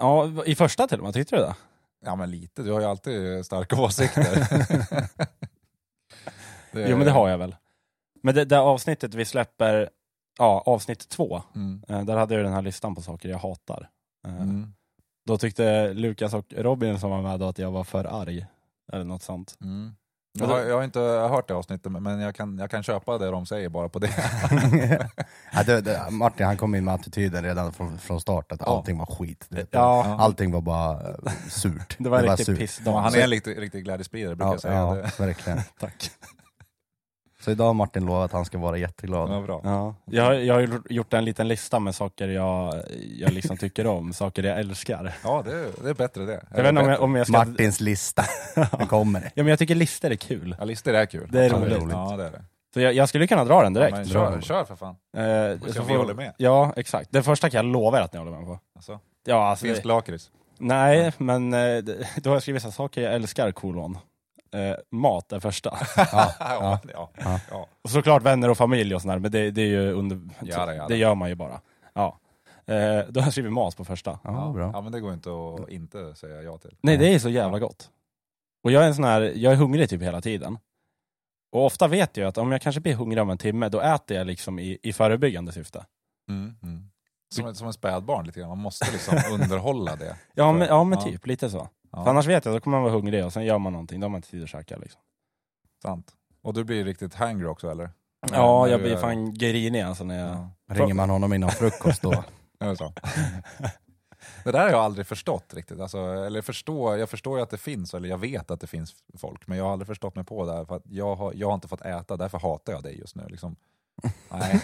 Speaker 2: Ja, i första till och med, tyckte du det?
Speaker 3: Ja men lite, du har ju alltid starka åsikter. det,
Speaker 2: Jo men det har jag väl. Men det, det avsnittet vi släpper, ja avsnitt två,
Speaker 3: Mm.
Speaker 2: eh, där hade jag ju den här listan på saker jag hatar. Eh,
Speaker 3: Mm.
Speaker 2: Då tyckte Lukas och Robin som var med då att jag var för arg. Eller något sånt.
Speaker 3: Mm. Jag,
Speaker 2: Alltså-
Speaker 3: har, jag har inte hört det avsnittet men jag kan, jag kan köpa det de säger bara på det.
Speaker 1: ja, det, det, Martin han kom in med attityden redan från, från start, att allting var skit. Du vet.
Speaker 2: Ja,
Speaker 1: Allting var bara eh, surt.
Speaker 2: det var riktigt
Speaker 1: surt.
Speaker 2: pissdag.
Speaker 3: Han är en riktig, riktig glädjespridare brukar
Speaker 1: Ja,
Speaker 3: jag säga.
Speaker 1: ja,
Speaker 3: Det,
Speaker 1: verkligen.
Speaker 2: Tack.
Speaker 1: Så idag har Martin lovat att han ska vara jätteglad.
Speaker 3: det var bra.
Speaker 2: Ja. Jag, har- jag har ju gjort en liten lista med saker jag, jag liksom tycker om, saker jag älskar.
Speaker 3: Ja det, är- det är bättre det.
Speaker 2: Jag vet inte om jag, om jag ska...
Speaker 1: Martins lista, nu kommer det.
Speaker 2: Ja, men jag tycker listor är kul.
Speaker 3: Ja, listor är kul.
Speaker 2: Det är
Speaker 3: Absolut.
Speaker 1: roligt.
Speaker 3: Ja, det är det.
Speaker 2: Så jag, jag skulle kunna dra den direkt.
Speaker 3: Ja, men
Speaker 1: Bra.
Speaker 3: kör, kör för fan.
Speaker 2: Eh,
Speaker 3: Och
Speaker 2: så
Speaker 3: se om
Speaker 2: får-
Speaker 3: vi håller med.
Speaker 2: Ja, exakt. Det första kan jag lova er att ni håller med på.
Speaker 3: Alltså,
Speaker 2: Ja, alltså,
Speaker 3: finsk
Speaker 2: det,
Speaker 3: lakrits.
Speaker 2: nej, men eh, det- då har jag skrivit så här, saker jag älskar, kolon. Eh, mat är första.
Speaker 1: Ja,
Speaker 3: Ja, ja, ja. ja.
Speaker 2: Och såklart vänner och familj och sådär, men det, det är ju under...
Speaker 3: Ja, det, ja,
Speaker 2: Det
Speaker 3: det.
Speaker 2: gör man ju bara. Ja. Eh, då har jag skrivit mat på första.
Speaker 1: ja, bra.
Speaker 3: Ja, men det går inte att inte säga ja till.
Speaker 2: Nej, det är så jävla gott. Och jag är en sån här, jag är hungrig typ hela tiden. Och ofta vet jag att om jag kanske blir hungrig om en timme, då äter jag liksom i, i förebyggande syfte.
Speaker 3: Mm. Mm. Som, ett- som en spädbarn lite grann, man måste liksom underhålla det.
Speaker 2: Ja, men, ja, men
Speaker 3: Ja.
Speaker 2: typ lite så.
Speaker 3: Ja.
Speaker 2: För annars vet jag, då kommer man vara hungrig och sen gör man någonting, då har man inte tid att käka liksom.
Speaker 3: Sant. Och du blir riktigt hangry också eller?
Speaker 2: Ja,
Speaker 3: när
Speaker 2: jag
Speaker 3: du
Speaker 2: blir
Speaker 3: är-
Speaker 2: fan grinig alltså när jag...
Speaker 3: Ja.
Speaker 1: Ringer man honom innan frukost då?
Speaker 3: är det så? Det där har jag aldrig förstått riktigt. Alltså, eller förstå, jag förstår ju att det finns, eller jag vet att det finns folk, men jag har aldrig förstått mig på det här. För att jag, har, jag har inte fått äta, därför hatar jag dig just nu. Liksom. Nej,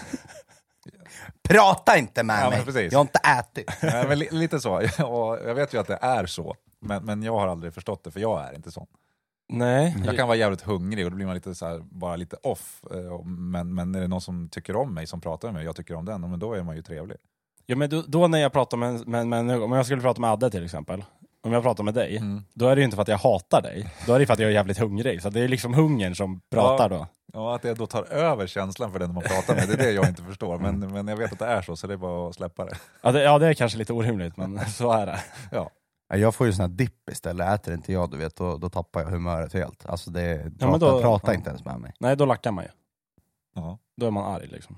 Speaker 1: Prata inte med
Speaker 3: Ja, men
Speaker 1: mig!
Speaker 3: precis.
Speaker 1: Jag har inte ätit.
Speaker 3: Nej, men li, lite så. Och jag vet ju att det är så, men, men jag har aldrig förstått det, för jag är inte sån.
Speaker 2: Nej.
Speaker 3: Jag kan vara jävligt hungrig och då blir man lite så här, bara lite off. eh, och- Men, men är det någon som tycker om mig, som pratar med mig, och jag tycker om den, men då är man ju trevlig.
Speaker 2: Ja, men då, då när jag pratar med, med, med, om jag skulle prata med Adde till exempel, om jag pratar med dig,
Speaker 3: Mm.
Speaker 2: då är det ju inte för att jag hatar dig, då är det för att jag är jävligt hungrig. Så det är liksom hungern som pratar då.
Speaker 3: Ja, att det då tar över känslan för den man pratar med, det är det jag inte förstår. Men, men jag vet att det är så, så det är bara att släppa det.
Speaker 2: Ja det, ja, det är kanske lite orimligt, men så är det.
Speaker 1: Ja, Jag får ju sån här dipp istället, äter inte jag du vet, då, då tappar jag humöret helt. Alltså det, prata,
Speaker 2: men då-
Speaker 1: prata
Speaker 2: ja.
Speaker 1: inte ens med mig.
Speaker 2: Nej, då lackar man ju.
Speaker 3: Ja,
Speaker 2: Då är man arg liksom.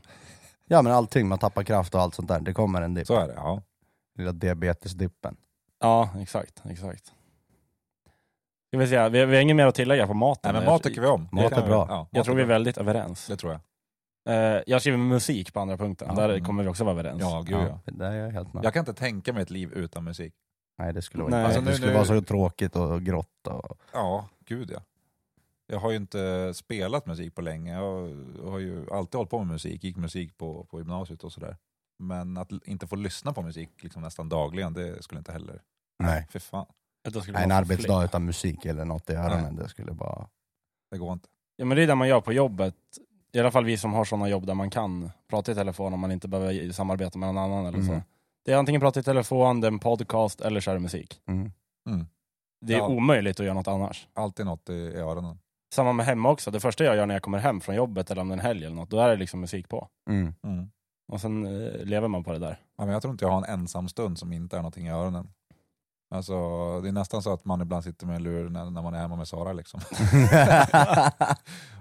Speaker 1: Ja men allting, man tappar kraft och allt sånt där, det kommer en dipp.
Speaker 3: så är det. Ja.
Speaker 1: Lilla diabetesdippen.
Speaker 2: Ja, exakt, exakt. Jag vill säga, vi, vi har inget mer att tillägga på maten.
Speaker 3: Nej, men
Speaker 2: Jag-
Speaker 3: mat tycker vi om.
Speaker 1: Mat
Speaker 3: Det kan
Speaker 1: är
Speaker 3: vi-
Speaker 1: bra.
Speaker 3: Ja,
Speaker 2: Jag
Speaker 3: mat
Speaker 2: tror
Speaker 3: är
Speaker 2: vi är
Speaker 3: bra.
Speaker 2: väldigt överens.
Speaker 3: Det tror jag.
Speaker 2: Eh, jag skriver musik på andra punkten,
Speaker 3: Ja,
Speaker 2: där
Speaker 3: mm.
Speaker 2: kommer vi också vara överens.
Speaker 3: Ja, gud ja.
Speaker 1: Det där är jag helt med.
Speaker 3: Jag kan inte tänka mig ett liv utan musik.
Speaker 1: Nej det skulle vara,
Speaker 2: Nej.
Speaker 1: Alltså,
Speaker 2: Alltså,
Speaker 1: det
Speaker 3: nu-
Speaker 1: skulle
Speaker 3: nu-
Speaker 1: vara så tråkigt och grått. Och...
Speaker 3: Ja, gud ja. Jag har ju inte spelat musik på länge. Jag har ju alltid hållit på med musik, gick musik på, på gymnasiet och sådär. Men att l- inte få lyssna på musik liksom nästan dagligen, det skulle inte heller...
Speaker 1: Nej.
Speaker 3: Fy fan,
Speaker 2: Då skulle
Speaker 1: Nej,
Speaker 2: vi
Speaker 1: en
Speaker 2: vara för
Speaker 1: arbetsdag
Speaker 2: fler.
Speaker 1: utan musik eller något i öronen, det skulle bara...
Speaker 3: det går inte.
Speaker 2: Ja, men det är det man gör på jobbet. I alla fall vi som har sådana jobb där man kan prata i telefon om man inte behöver i- samarbeta med någon annan eller
Speaker 1: Mm.
Speaker 2: så. Det är antingen prata i telefon, det är en podcast eller köra musik.
Speaker 1: Mm.
Speaker 2: Det är
Speaker 3: Ja.
Speaker 2: omöjligt att göra något annars.
Speaker 3: Alltid något i i öronen.
Speaker 2: Samma med hemma också. Det första jag gör när jag kommer hem från jobbet eller om det är en helg eller något, då är det liksom musik på.
Speaker 1: Mm.
Speaker 3: Mm.
Speaker 2: Och sen eh, lever man på det där.
Speaker 3: Ja, men jag tror inte jag har en ensam stund som inte är någonting i öronen. Alltså, det är nästan så att man ibland sitter med en lur när, när man är hemma med Sara. Liksom.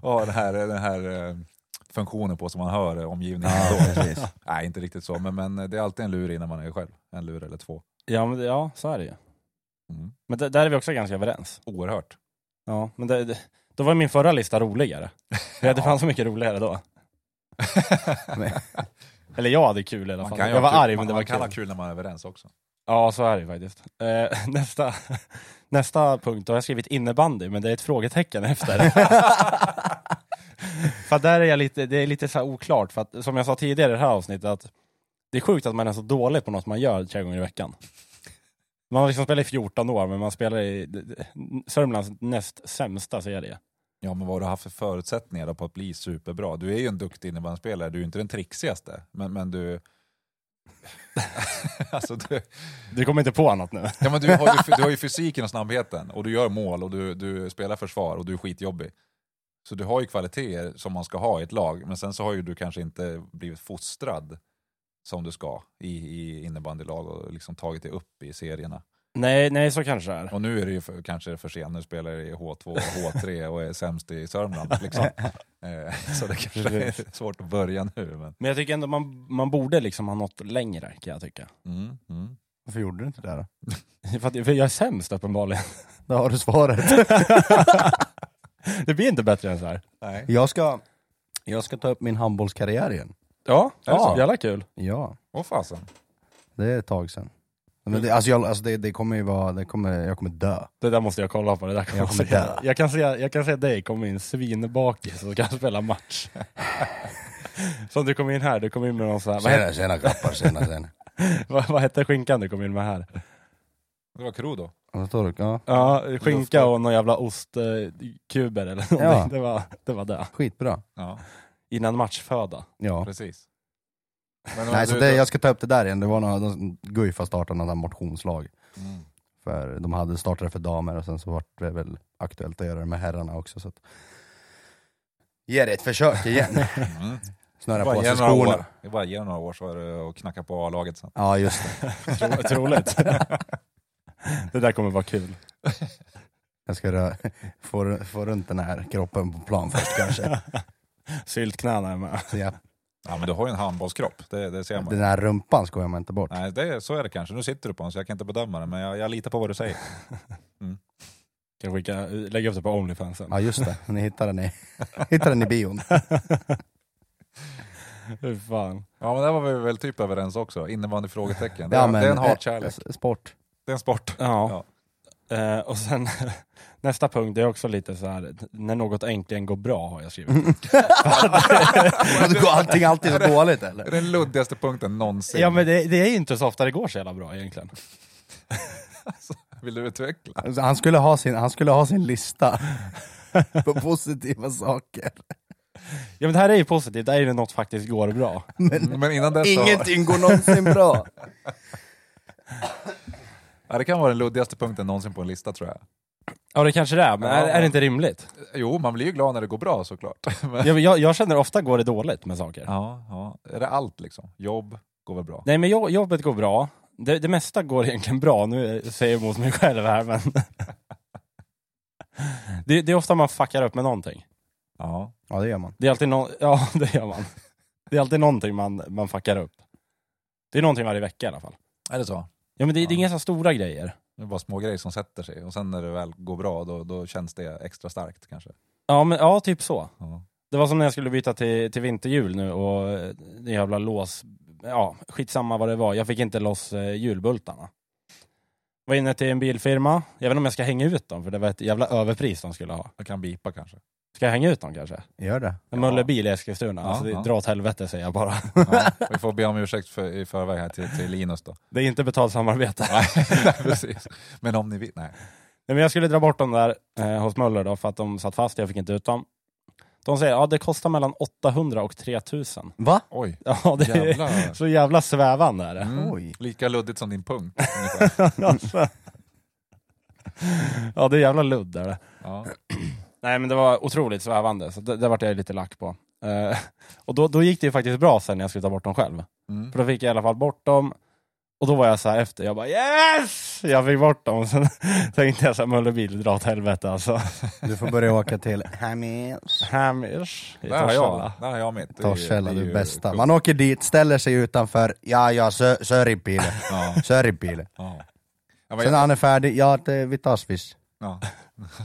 Speaker 3: och den här, den här eh, funktionen på som man hör eh, omgivningen.
Speaker 1: Ja,
Speaker 3: då.
Speaker 1: precis.
Speaker 3: Nej, inte riktigt så, men, men det är alltid en lur i när man är själv. En lur eller två.
Speaker 2: Ja, men, det- ja så är det ju.
Speaker 3: Mm.
Speaker 2: Men det, där är vi också ganska överens.
Speaker 3: Oerhört.
Speaker 2: Ja, men det, det, då var min förra lista roligare. Vi hade
Speaker 3: Ja.
Speaker 2: fan så mycket roligare då.
Speaker 1: Men-
Speaker 2: Eller jag hade kul i alla
Speaker 3: Man
Speaker 2: fall.
Speaker 3: kan ju
Speaker 2: Jag var
Speaker 3: ha kul-
Speaker 2: arg
Speaker 3: man,
Speaker 2: men det
Speaker 3: man
Speaker 2: var
Speaker 3: kan
Speaker 2: kul.
Speaker 3: ha kul när man är överens också.
Speaker 2: Ja, så är det faktiskt. Eh, nästa, nästa punkt, då har jag skrivit innebandy, men det är ett frågetecken efter. för att där är jag lite, det är lite så här oklart, för att som jag sa tidigare i det här avsnittet, att det är sjukt att man är så dålig på något man gör tre gånger i veckan. Man har liksom spelat i 14 år, men man spelar i d- d- Sörmlands näst sämsta serie.
Speaker 3: Ja, men vad har du haft för förutsättningar då på att bli superbra? Du är ju en duktig innebandyspelare, du är ju inte den trixigaste, men, men du... alltså, du...
Speaker 2: Du kommer inte på annat nu.
Speaker 3: Ja, men du, har ju, du har ju fysiken och snabbheten och du gör mål och du, du spelar försvar och du är skitjobbig. Så du har ju kvaliteter som man ska ha i ett lag, men sen så har ju du kanske inte blivit fostrad som du ska i, i innebandylag och liksom tagit dig upp i serierna.
Speaker 2: Nej, nej, så kanske det är.
Speaker 3: Och nu är det ju för, kanske för sent, nu spelar du i H2 och H3 och är sämst i Sörmland. Liksom. Eh, så det kanske är svårt att börja nu. Men,
Speaker 2: Men jag tycker ändå man, man borde liksom ha nått längre, kan jag tycka.
Speaker 3: mm, mm.
Speaker 1: Varför gjorde du inte det då?
Speaker 2: För, att, för jag är sämst uppenbarligen.
Speaker 1: Där har du svaret.
Speaker 2: det blir inte bättre än så här.
Speaker 3: Nej.
Speaker 1: jag, ska, jag ska ta upp min handbollskarriär igen.
Speaker 2: Ja,
Speaker 3: är det
Speaker 2: ja.
Speaker 3: så?
Speaker 2: jävla kul.
Speaker 1: Ja,
Speaker 3: Åh fasen.
Speaker 1: det är ett tag sedan.
Speaker 3: Mm.
Speaker 1: Men det, alltså jag, alltså det, det kommer ju vara, det kommer, jag kommer dö.
Speaker 2: Det där måste jag kolla på. Det där kommer
Speaker 1: Jag
Speaker 2: jag,
Speaker 1: kommer dö.
Speaker 2: säga. Jag, kan säga, jag kan säga dig kom in svinbakis och kan spela match. Som du kom in här, du kom in med någon så här, vad, hette,
Speaker 1: tjena grabbar, tjena tjena.
Speaker 2: vad, vad hette skinkan du kom in med här?
Speaker 3: Det var Krudo.
Speaker 1: Och så tar du, ja,
Speaker 2: Ja, skinka och någon jävla ostkuber eller någonting.
Speaker 1: Ja.
Speaker 2: Det, var, det var det.
Speaker 1: skitbra.
Speaker 3: Ja,
Speaker 2: Innan matchföda.
Speaker 1: Ja.
Speaker 3: precis. Men om
Speaker 1: Nej,
Speaker 3: du-
Speaker 1: så det, jag ska ta upp det där igen. Det var några, de, Guif har startat något motionslag.
Speaker 3: Mm.
Speaker 1: För de hade startat det för damer och sen så var det väl aktuellt att göra det med herrarna också. Så att... Ge det ett försök igen.
Speaker 3: Mm.
Speaker 1: Snurra
Speaker 3: Bara
Speaker 1: på
Speaker 3: ge
Speaker 1: sig
Speaker 3: några år.
Speaker 1: skorna.
Speaker 3: Det är bara ge några år så är det och knacka på A-laget sen.
Speaker 1: Ja just det.
Speaker 2: Tro, troligt. det där kommer vara kul.
Speaker 1: Jag ska rö- få, få runt den här kroppen på plan först kanske.
Speaker 2: Syltknäna är med.
Speaker 1: Så jag,
Speaker 3: Ja men du har ju en handbollskropp, det, det ser man.
Speaker 1: den här rumpan skojar man inte bort.
Speaker 3: Nej, det, så är det kanske. Nu sitter du på den så jag kan inte bedöma det, men jag, jag litar på vad du säger.
Speaker 2: Kan skicka, lägga upp det på Onlyfans sen.
Speaker 1: Ja just det, ni hittar den i, hittar den i bion.
Speaker 2: Hur fan.
Speaker 3: Ja men där var vi väl typ överens också, innebandy frågetecken. Det,
Speaker 1: Ja,
Speaker 3: är-
Speaker 1: men- eh, alltså-
Speaker 3: det är en hatkärlek,
Speaker 1: S- Sport.
Speaker 3: det är en sport.
Speaker 2: Ja. Eh, och sen nästa punkt, det är också lite så här, när något äntligen går bra har jag skrivit.
Speaker 1: Går allting alltid så dåligt
Speaker 3: Det är
Speaker 1: eller?
Speaker 3: den luddigaste punkten någonsin.
Speaker 2: ja men det, det är ju inte så ofta det går så jävla bra egentligen.
Speaker 3: Vill du utveckla?
Speaker 1: Alltså, Han skulle ha sin, han skulle ha sin lista på positiva saker.
Speaker 2: Ja men det här är ju positivt, det är ju när något faktiskt går bra.
Speaker 3: Men innan dess så...
Speaker 1: Ingenting går någonsin bra.
Speaker 3: Ja, det kan vara den luddigaste punkten någonsin på en lista tror jag.
Speaker 2: Ja det kanske det är, men är, är det inte rimligt?
Speaker 3: Jo, man blir ju glad när det går bra såklart. Men,
Speaker 2: Jag, jag, jag känner ofta går det dåligt med saker.
Speaker 3: ja, ja. Är det allt liksom? Jobb går väl bra?
Speaker 2: Nej men jo- jobbet går bra. Det, det mesta går egentligen bra, nu säger jag emot mig själv här men... det, det är ofta man fuckar upp med någonting.
Speaker 3: Ja.
Speaker 1: Ja det gör man.
Speaker 2: Det är alltid någon, ja det gör man. Det är alltid någonting man, man fuckar upp. Det är någonting varje vecka i alla fall.
Speaker 3: Är det så?
Speaker 2: Ja men det, det
Speaker 3: Ja.
Speaker 2: är inga så stora grejer.
Speaker 3: Det är bara små grejer som sätter sig och sen när det väl går bra då, då känns det extra starkt kanske.
Speaker 2: Ja, men, ja typ så.
Speaker 3: Ja.
Speaker 2: Det var som när jag skulle byta till, till vinterhjul nu och eh, det jävla lås, ja skitsamma vad det var, jag fick inte loss eh, hjulbultarna. Var inne till en bilfirma, jag vet inte om jag ska hänga ut dem för det var ett jävla överpris de skulle ha.
Speaker 3: Jag kan bipa kanske.
Speaker 2: Ska jag hänga ut dem kanske?
Speaker 1: Gör det.
Speaker 2: En Möllerbil i Eskilstuna,
Speaker 3: Ja,
Speaker 2: alltså det,
Speaker 3: ja.
Speaker 2: dra åt helvete säger jag bara.
Speaker 3: Ja, vi får be om ursäkt för, i förväg här till, till Linus då.
Speaker 2: Det är inte betalt samarbete.
Speaker 3: Nej, precis. Men om ni vill, nej.
Speaker 2: Nej, men jag skulle dra bort dem där eh, hos Möller då, för att de satt fast, jag fick inte ut dem. De säger ja det kostar mellan 800 och 3000.
Speaker 1: Va?
Speaker 3: Oj,
Speaker 2: Ja, det är
Speaker 3: jävlar.
Speaker 2: så jävla svävande är det.
Speaker 3: Mm.
Speaker 1: Oj.
Speaker 3: Lika luddigt som din punkt. ungefär.
Speaker 2: Alltså. ja, det är jävla ludd är det.
Speaker 3: Ja.
Speaker 2: Nej, men det var otroligt svävande, så det, det vart jag lite lack på. Eh, och då, då gick det ju faktiskt bra sen när jag skulle ta bort dem själv.
Speaker 3: Mm.
Speaker 2: För då fick jag i alla fall bort dem. Och då var jag så här efter, jag bara yes! Jag fick bort dem. Sen tänkte jag så här, Möllerbil, dra åt helvete alltså.
Speaker 1: Du får börja åka till Hammers.
Speaker 2: Hamish i
Speaker 3: Där har
Speaker 2: Torshälla.
Speaker 3: jag, där har jag mitt. Det är ju-
Speaker 1: Torshälla,
Speaker 3: det
Speaker 1: du
Speaker 3: ju
Speaker 1: bästa.
Speaker 3: kung.
Speaker 1: Man åker dit, ställer sig utanför, ja ja, sö- Söripile,
Speaker 3: Ja,
Speaker 1: Söripile.
Speaker 3: ja. Ja, men
Speaker 1: Sen när
Speaker 3: jag,
Speaker 1: han är färdig, ja det, vi tar swish.
Speaker 3: ja.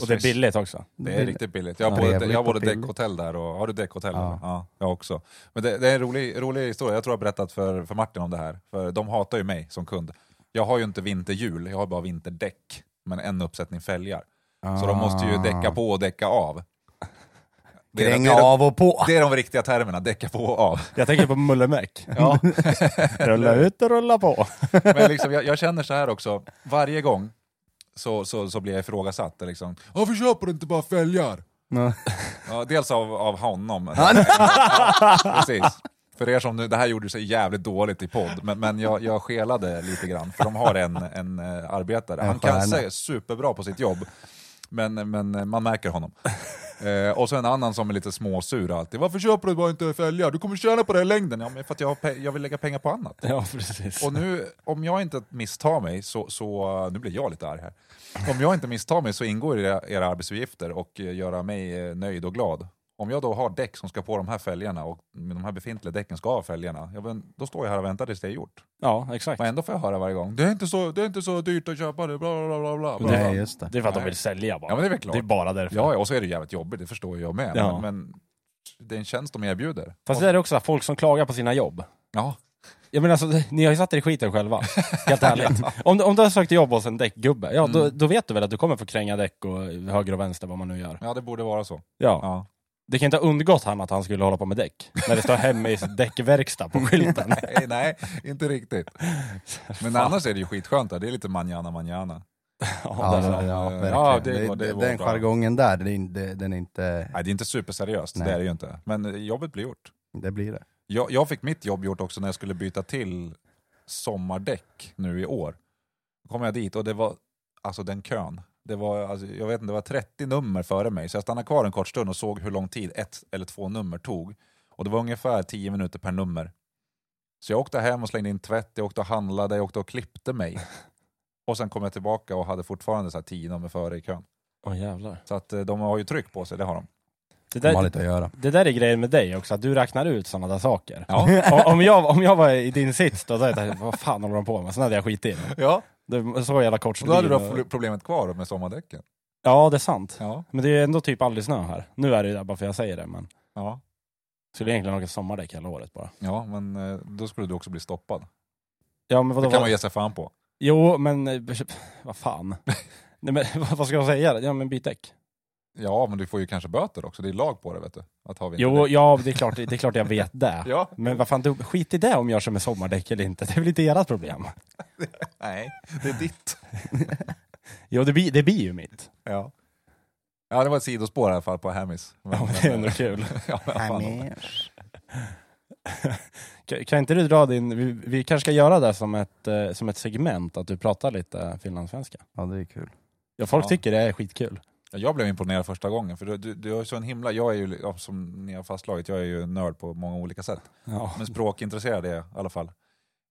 Speaker 2: Och det är billigt också.
Speaker 3: Det är riktigt billigt. Jag har
Speaker 1: Ja,
Speaker 3: både,
Speaker 1: trevligt
Speaker 3: jag har både
Speaker 1: och billigt.
Speaker 3: däckhotell där och... Har du däckhotell?
Speaker 1: Ja.
Speaker 3: Ja. ja, jag också. Men det, det är en rolig, rolig historia. Jag tror jag har berättat för, för Martin om det här. För de hatar ju mig som kund. Jag har ju inte vinterhjul, jag har bara vinterdäck. Men en uppsättning fälgar. Så de måste ju däcka på och däcka av. Det är,
Speaker 1: Ah.
Speaker 3: det,
Speaker 1: Kränga
Speaker 3: är de,
Speaker 1: av och på.
Speaker 3: det är de riktiga termerna, däcka på och av.
Speaker 2: Jag tänker på Mullemäck. Ja. rulla ut och rulla på.
Speaker 3: Men liksom, jag, jag känner så här också, varje gång så, så, så blir jag ifrågasatt. Liksom, Varför köper du inte bara fälgar?
Speaker 1: Ja.
Speaker 3: Ja, dels av, av honom. Precis. För er som nu, det här gjorde sig jävligt dåligt i podd, men, men jag, jag skelade lite grann, för de har en, en eh, arbetare.
Speaker 1: En
Speaker 3: Han
Speaker 1: stjärna.
Speaker 3: kan säga superbra på sitt jobb, men, men eh, man märker honom. Eh, Eh, och så en annan som är lite småsur alltid. Varför köper du bara inte fälgar? Du kommer tjäna på det i längden. Ja, men för att jag, har pe- jag vill lägga pengar på annat.
Speaker 2: Ja, precis.
Speaker 3: Och nu, om jag inte misstar mig, så, så nu blir jag lite arg här. Om jag inte misstar mig så ingår era, era arbetsuppgifter och eh, göra mig eh, nöjd och glad. Om jag då har däck som ska på de här fälgarna och de här befintliga däcken ska av fälgarna, ja, men då står jag här och väntar tills det är gjort.
Speaker 2: Ja, exakt.
Speaker 3: Och ändå får jag höra varje gång, det är inte så, det är inte så dyrt att köpa det, bla bla bla. bla, bla.
Speaker 2: Det-
Speaker 1: Nej just det.
Speaker 2: Det är för att de vill sälja bara.
Speaker 3: Ja, men det är väl klart.
Speaker 2: Det är bara därför.
Speaker 3: Ja, ja, och så är det jävligt jobbigt, det förstår jag med.
Speaker 2: Ja.
Speaker 3: Men, men det är en tjänst de erbjuder.
Speaker 2: Fast det är också folk som klagar på sina jobb.
Speaker 3: Ja,
Speaker 2: Jag menar alltså, ni har ju satt er i skiten själva. Helt ärligt. om, du- om du har sökt jobb hos en däckgubbe, ja då,
Speaker 3: Mm.
Speaker 2: då vet du väl att du kommer få kränga däck och höger och vänster vad man nu gör.
Speaker 3: ja, det borde vara så.
Speaker 2: Ja.
Speaker 3: Ja.
Speaker 2: Det kan inte ha undgått han att han skulle hålla på med däck. När det står hemma i däckverkstad på skylten.
Speaker 3: Nej, nej, inte riktigt. Men annars är det ju skitskönt där. Det är lite manjana manjana.
Speaker 1: Ja, ja,
Speaker 2: därför.
Speaker 1: ja,
Speaker 3: Eh,
Speaker 1: verkligen.
Speaker 3: ja, det
Speaker 1: det,
Speaker 3: var- det var
Speaker 1: den
Speaker 3: bra.
Speaker 1: jargongen där, det är in- det, den är inte...
Speaker 3: Nej, det är inte superseriöst.
Speaker 1: Nej.
Speaker 3: Det är det ju inte. Men eh, jobbet blir gjort.
Speaker 1: Det blir det.
Speaker 3: Jag, jag fick mitt jobb gjort också när jag skulle byta till sommardäck nu i år. Då kom jag dit och det var, alltså den kön. Det var, alltså, jag vet inte, det var 30 nummer före mig. Så jag stannade kvar en kort stund och såg hur lång tid ett eller två nummer tog. Och det var ungefär 10 minuter per nummer. Så jag åkte hem och slängde in tvätt, jag åkte och handlade, jag åkte och klippte mig. Och sen kom jag tillbaka och hade fortfarande så här 10 nummer före i kön.
Speaker 2: Åh jävlar.
Speaker 3: Så att eh, de har ju tryck på sig, det har de.
Speaker 2: Det
Speaker 1: De har
Speaker 2: där,
Speaker 1: lite att göra.
Speaker 2: det där är grejen med dig också, att du räknar ut sådana där saker.
Speaker 3: Ja.
Speaker 2: Om- Om jag, om jag var i din sits då, då hade jag tänkt, vad fan håller de på med? Sen hade jag skitit i det.
Speaker 3: ja.
Speaker 2: det. Så jävla kort
Speaker 3: Och då hade du
Speaker 2: liv.
Speaker 3: haft problemet kvar med sommardäcken.
Speaker 2: Ja, det är sant.
Speaker 3: Ja.
Speaker 2: Men det är ändå typ aldrig snö här. Nu är det ju där bara för jag säger det, men
Speaker 3: ja.
Speaker 2: skulle egentligen åka sommardäck hela året bara.
Speaker 3: Ja, men eh, då skulle du också bli stoppad.
Speaker 2: Ja, men
Speaker 3: Det
Speaker 2: vadå?
Speaker 3: kan
Speaker 2: vad-
Speaker 3: man ge sig fan på.
Speaker 2: Jo, men eh, vad fan. Nej, men vad- vad ska jag säga? Ja, men byt däck.
Speaker 3: Ja, men du får ju kanske böter också. Det är lag på det, vet du. Att ha
Speaker 2: Jo, ja, det är klart, det är klart jag vet det.
Speaker 3: Ja.
Speaker 2: Men vad fan, du, skit i det om jag kör med sommardäck eller inte. Det är väl inte ert problem?
Speaker 3: Nej, det är ditt.
Speaker 2: Jo, det blir, det blir ju mitt.
Speaker 3: Ja. ja, det var ett sidospår i alla fall på Hammys. Men-
Speaker 2: Ja, men det är ändå kul.
Speaker 3: ja, men fan.
Speaker 2: Kan, kan inte du dra din... Vi, vi kanske ska göra det som ett, eh, som ett segment, att du pratar lite finlandssvenska.
Speaker 1: Ja det är kul.
Speaker 2: Ja, folk
Speaker 3: Ja.
Speaker 2: tycker det är skitkul.
Speaker 3: Ja, Jag blev imponerad första gången, för du, du, du har ju så en himla... Jag är ju, ja, som ni har fastslagit, jag är ju nörd på många olika sätt.
Speaker 2: Ja.
Speaker 3: Men språkintresserad är jag i alla fall.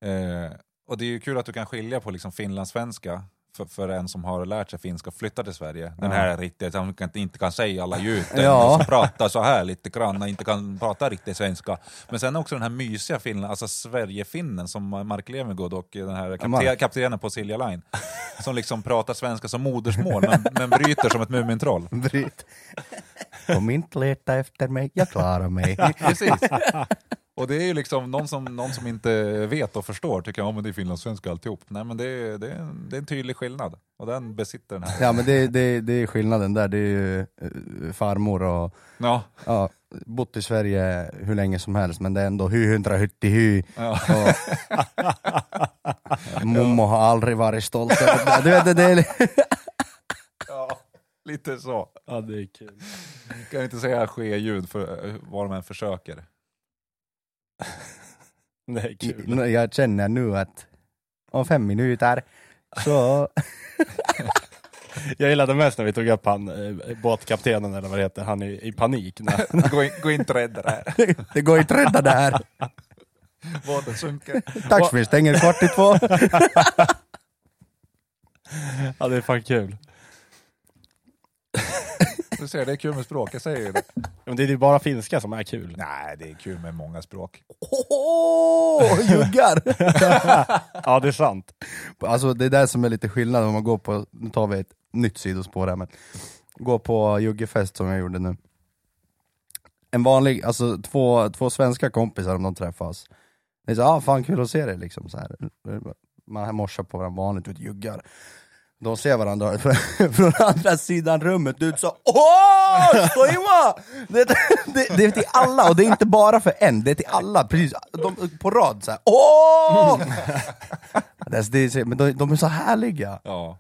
Speaker 3: Eh, och det är ju kul att du kan skilja på liksom finlandssvenska för, för en som har lärt sig finska och flyttar till Sverige. Den här är riktigt, han kan, inte kan säga alla gjuten,
Speaker 1: Ja.
Speaker 3: som pratar så här lite grann, och inte kan prata riktigt svenska. Men sen också den här mysiga finnen, alltså Sverigefinnen som Mark Levengood och den här kapte,
Speaker 1: Mark.
Speaker 3: kaptenen på Silja Line, som liksom pratar svenska som modersmål men, men bryter som ett Mumintroll.
Speaker 1: Bryt. Kom inte leta efter mig, jag klarar mig.
Speaker 3: Precis. Och det är ju liksom någon som, någon som inte vet och förstår tycker ja men det är finlandssvenska alltihop. Nej men det är, det, är en, det är en tydlig skillnad och den besitter den här.
Speaker 1: Ja men det, det, det är skillnaden där, det är ju eh, farmor och
Speaker 3: Ja,
Speaker 1: ja, bott i Sverige hur länge som helst men det är ändå hy hundra hytti hy.
Speaker 3: ja.
Speaker 1: Och- Mommo har aldrig varit stolt över det. Du vet, det, det är,
Speaker 3: ja lite så.
Speaker 2: ja, det är kul.
Speaker 3: Kan inte säga ske-ljud för eh, vad de än försöker.
Speaker 2: Det är kul.
Speaker 1: Nu- jag känner nu att om fem minuter så...
Speaker 2: Jag gillade mest när vi tog upp han, eh, båtkaptenen eller vad det heter, han i, i panik. När,
Speaker 3: Gå, in, gå inte rädd där.
Speaker 1: Det går inte att rädda det här.
Speaker 3: Båten sjunker.
Speaker 1: Tack för vi stänger kvart i två.
Speaker 2: ja, det är fan kul.
Speaker 3: Du ser, det är kul med språk, jag säger ju det.
Speaker 2: Men det är ju bara finska som är kul.
Speaker 3: Nej, det är kul med många språk.
Speaker 1: Åh, juggar!
Speaker 2: Ja, det är sant.
Speaker 1: Alltså det är det som är lite skillnad om man går på, nu tar vi ett nytt sidospår här men, gå på juggefest som jag gjorde nu. En vanlig, alltså två, två svenska kompisar om de träffas, det är så ah fan kul att se dig liksom så här. Man morsar på varandra vanligt, ut juggar. De ser varandra från andra sidan rummet ut så Åh! Stoima! Det, det, det är till alla, och det är inte bara för en, det är till alla, precis, de, på rad såhär Åh! Det är, det är, så- men de, de är så härliga!
Speaker 3: Ja.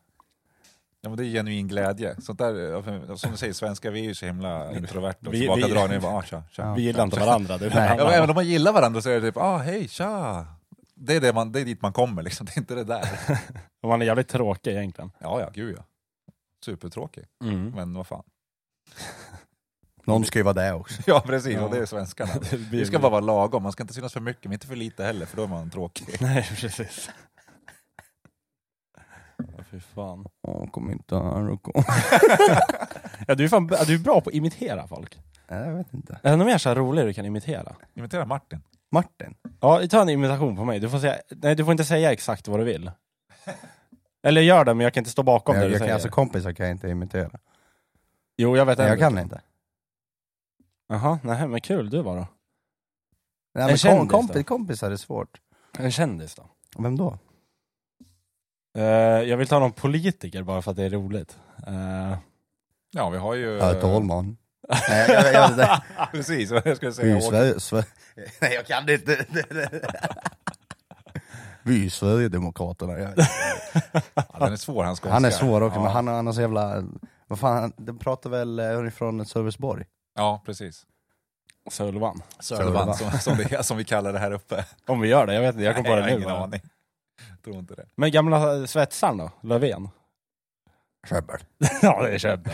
Speaker 3: Ja, men det är genuin glädje. Sånt där, eh, för- som du säger, svenskar vi är ju så himla introverta och
Speaker 2: Vi- vi-
Speaker 3: tillbakadragna. Vi bara, ah, tja, tja.
Speaker 2: Vi gillar inte varandra. Det är
Speaker 1: Nej.
Speaker 3: Ja, men
Speaker 2: bara-
Speaker 3: även om man gillar varandra så är det typ, ah hej, tja. Det är, det, man, det är dit man kommer liksom, det är inte det där.
Speaker 2: Och man är jävligt tråkig egentligen. Mm.
Speaker 3: Ja, ja, gud ja. Supertråkig, men vad fan.
Speaker 1: Någon ska ju vara där också.
Speaker 3: Ja precis,
Speaker 2: Ja.
Speaker 3: och det är svenskarna.
Speaker 2: Det blir
Speaker 3: Vi ska bara vara lagom, man ska inte synas för mycket men inte för lite heller för då är man tråkig.
Speaker 2: Nej, precis. Ja, fy fan.
Speaker 1: Åh, kom inte här och kom.
Speaker 2: Ja, du, är fan. du är bra på att imitera folk.
Speaker 1: Nej, jag vet inte.
Speaker 2: Ännu mer så här rolig du kan imitera.
Speaker 3: Imitera Martin.
Speaker 1: Martin?
Speaker 2: Ja, ta en imitation på mig. Du får, säga, nej, du får inte säga exakt vad du vill. Eller gör det, men jag kan inte stå bakom det
Speaker 1: jag,
Speaker 2: du
Speaker 1: jag, kan-
Speaker 2: säger.
Speaker 1: alltså kompisar kan jag inte imitera.
Speaker 2: jo, jag vet
Speaker 1: Nej,
Speaker 2: en
Speaker 1: jag
Speaker 2: du
Speaker 1: kan inte.
Speaker 2: Jaha, nej men kul du var då.
Speaker 1: Nej, men kom,
Speaker 2: kändis då?
Speaker 1: komp, kompisar är svårt.
Speaker 2: En kändis då.
Speaker 1: Vem då?
Speaker 2: Eh, jag vill ta någon politiker bara för att det är roligt. Eh,
Speaker 3: Ja vi har ju...
Speaker 1: Ja, Tolman. Eh. Nej, jag, jag, jag,
Speaker 3: Precis, vad jag skulle
Speaker 1: vi
Speaker 3: säga.
Speaker 1: är Sverige, Sverige. Nej, jag kan inte. vi är Sverigedemokraterna. Jag vet inte.
Speaker 3: Ja, den är svår, han ska
Speaker 1: Han är svår också, men han, han har så jävla... Vad fan, han- de pratar väl eh, ifrån Sölvesborg?
Speaker 3: Ja precis.
Speaker 2: Sölvan.
Speaker 1: Sölvan.
Speaker 3: Sölvan som, som, det, som vi kallar det här uppe.
Speaker 2: Om vi gör det, jag vet inte, jag kom på
Speaker 3: Nej,
Speaker 2: det
Speaker 3: har
Speaker 2: nu
Speaker 3: ingen
Speaker 2: bara.
Speaker 3: aning. Tror inte det.
Speaker 2: Men gamla eh, svetsaren då? Löfven?
Speaker 1: Sjöbel.
Speaker 2: ja, det är Käbbel.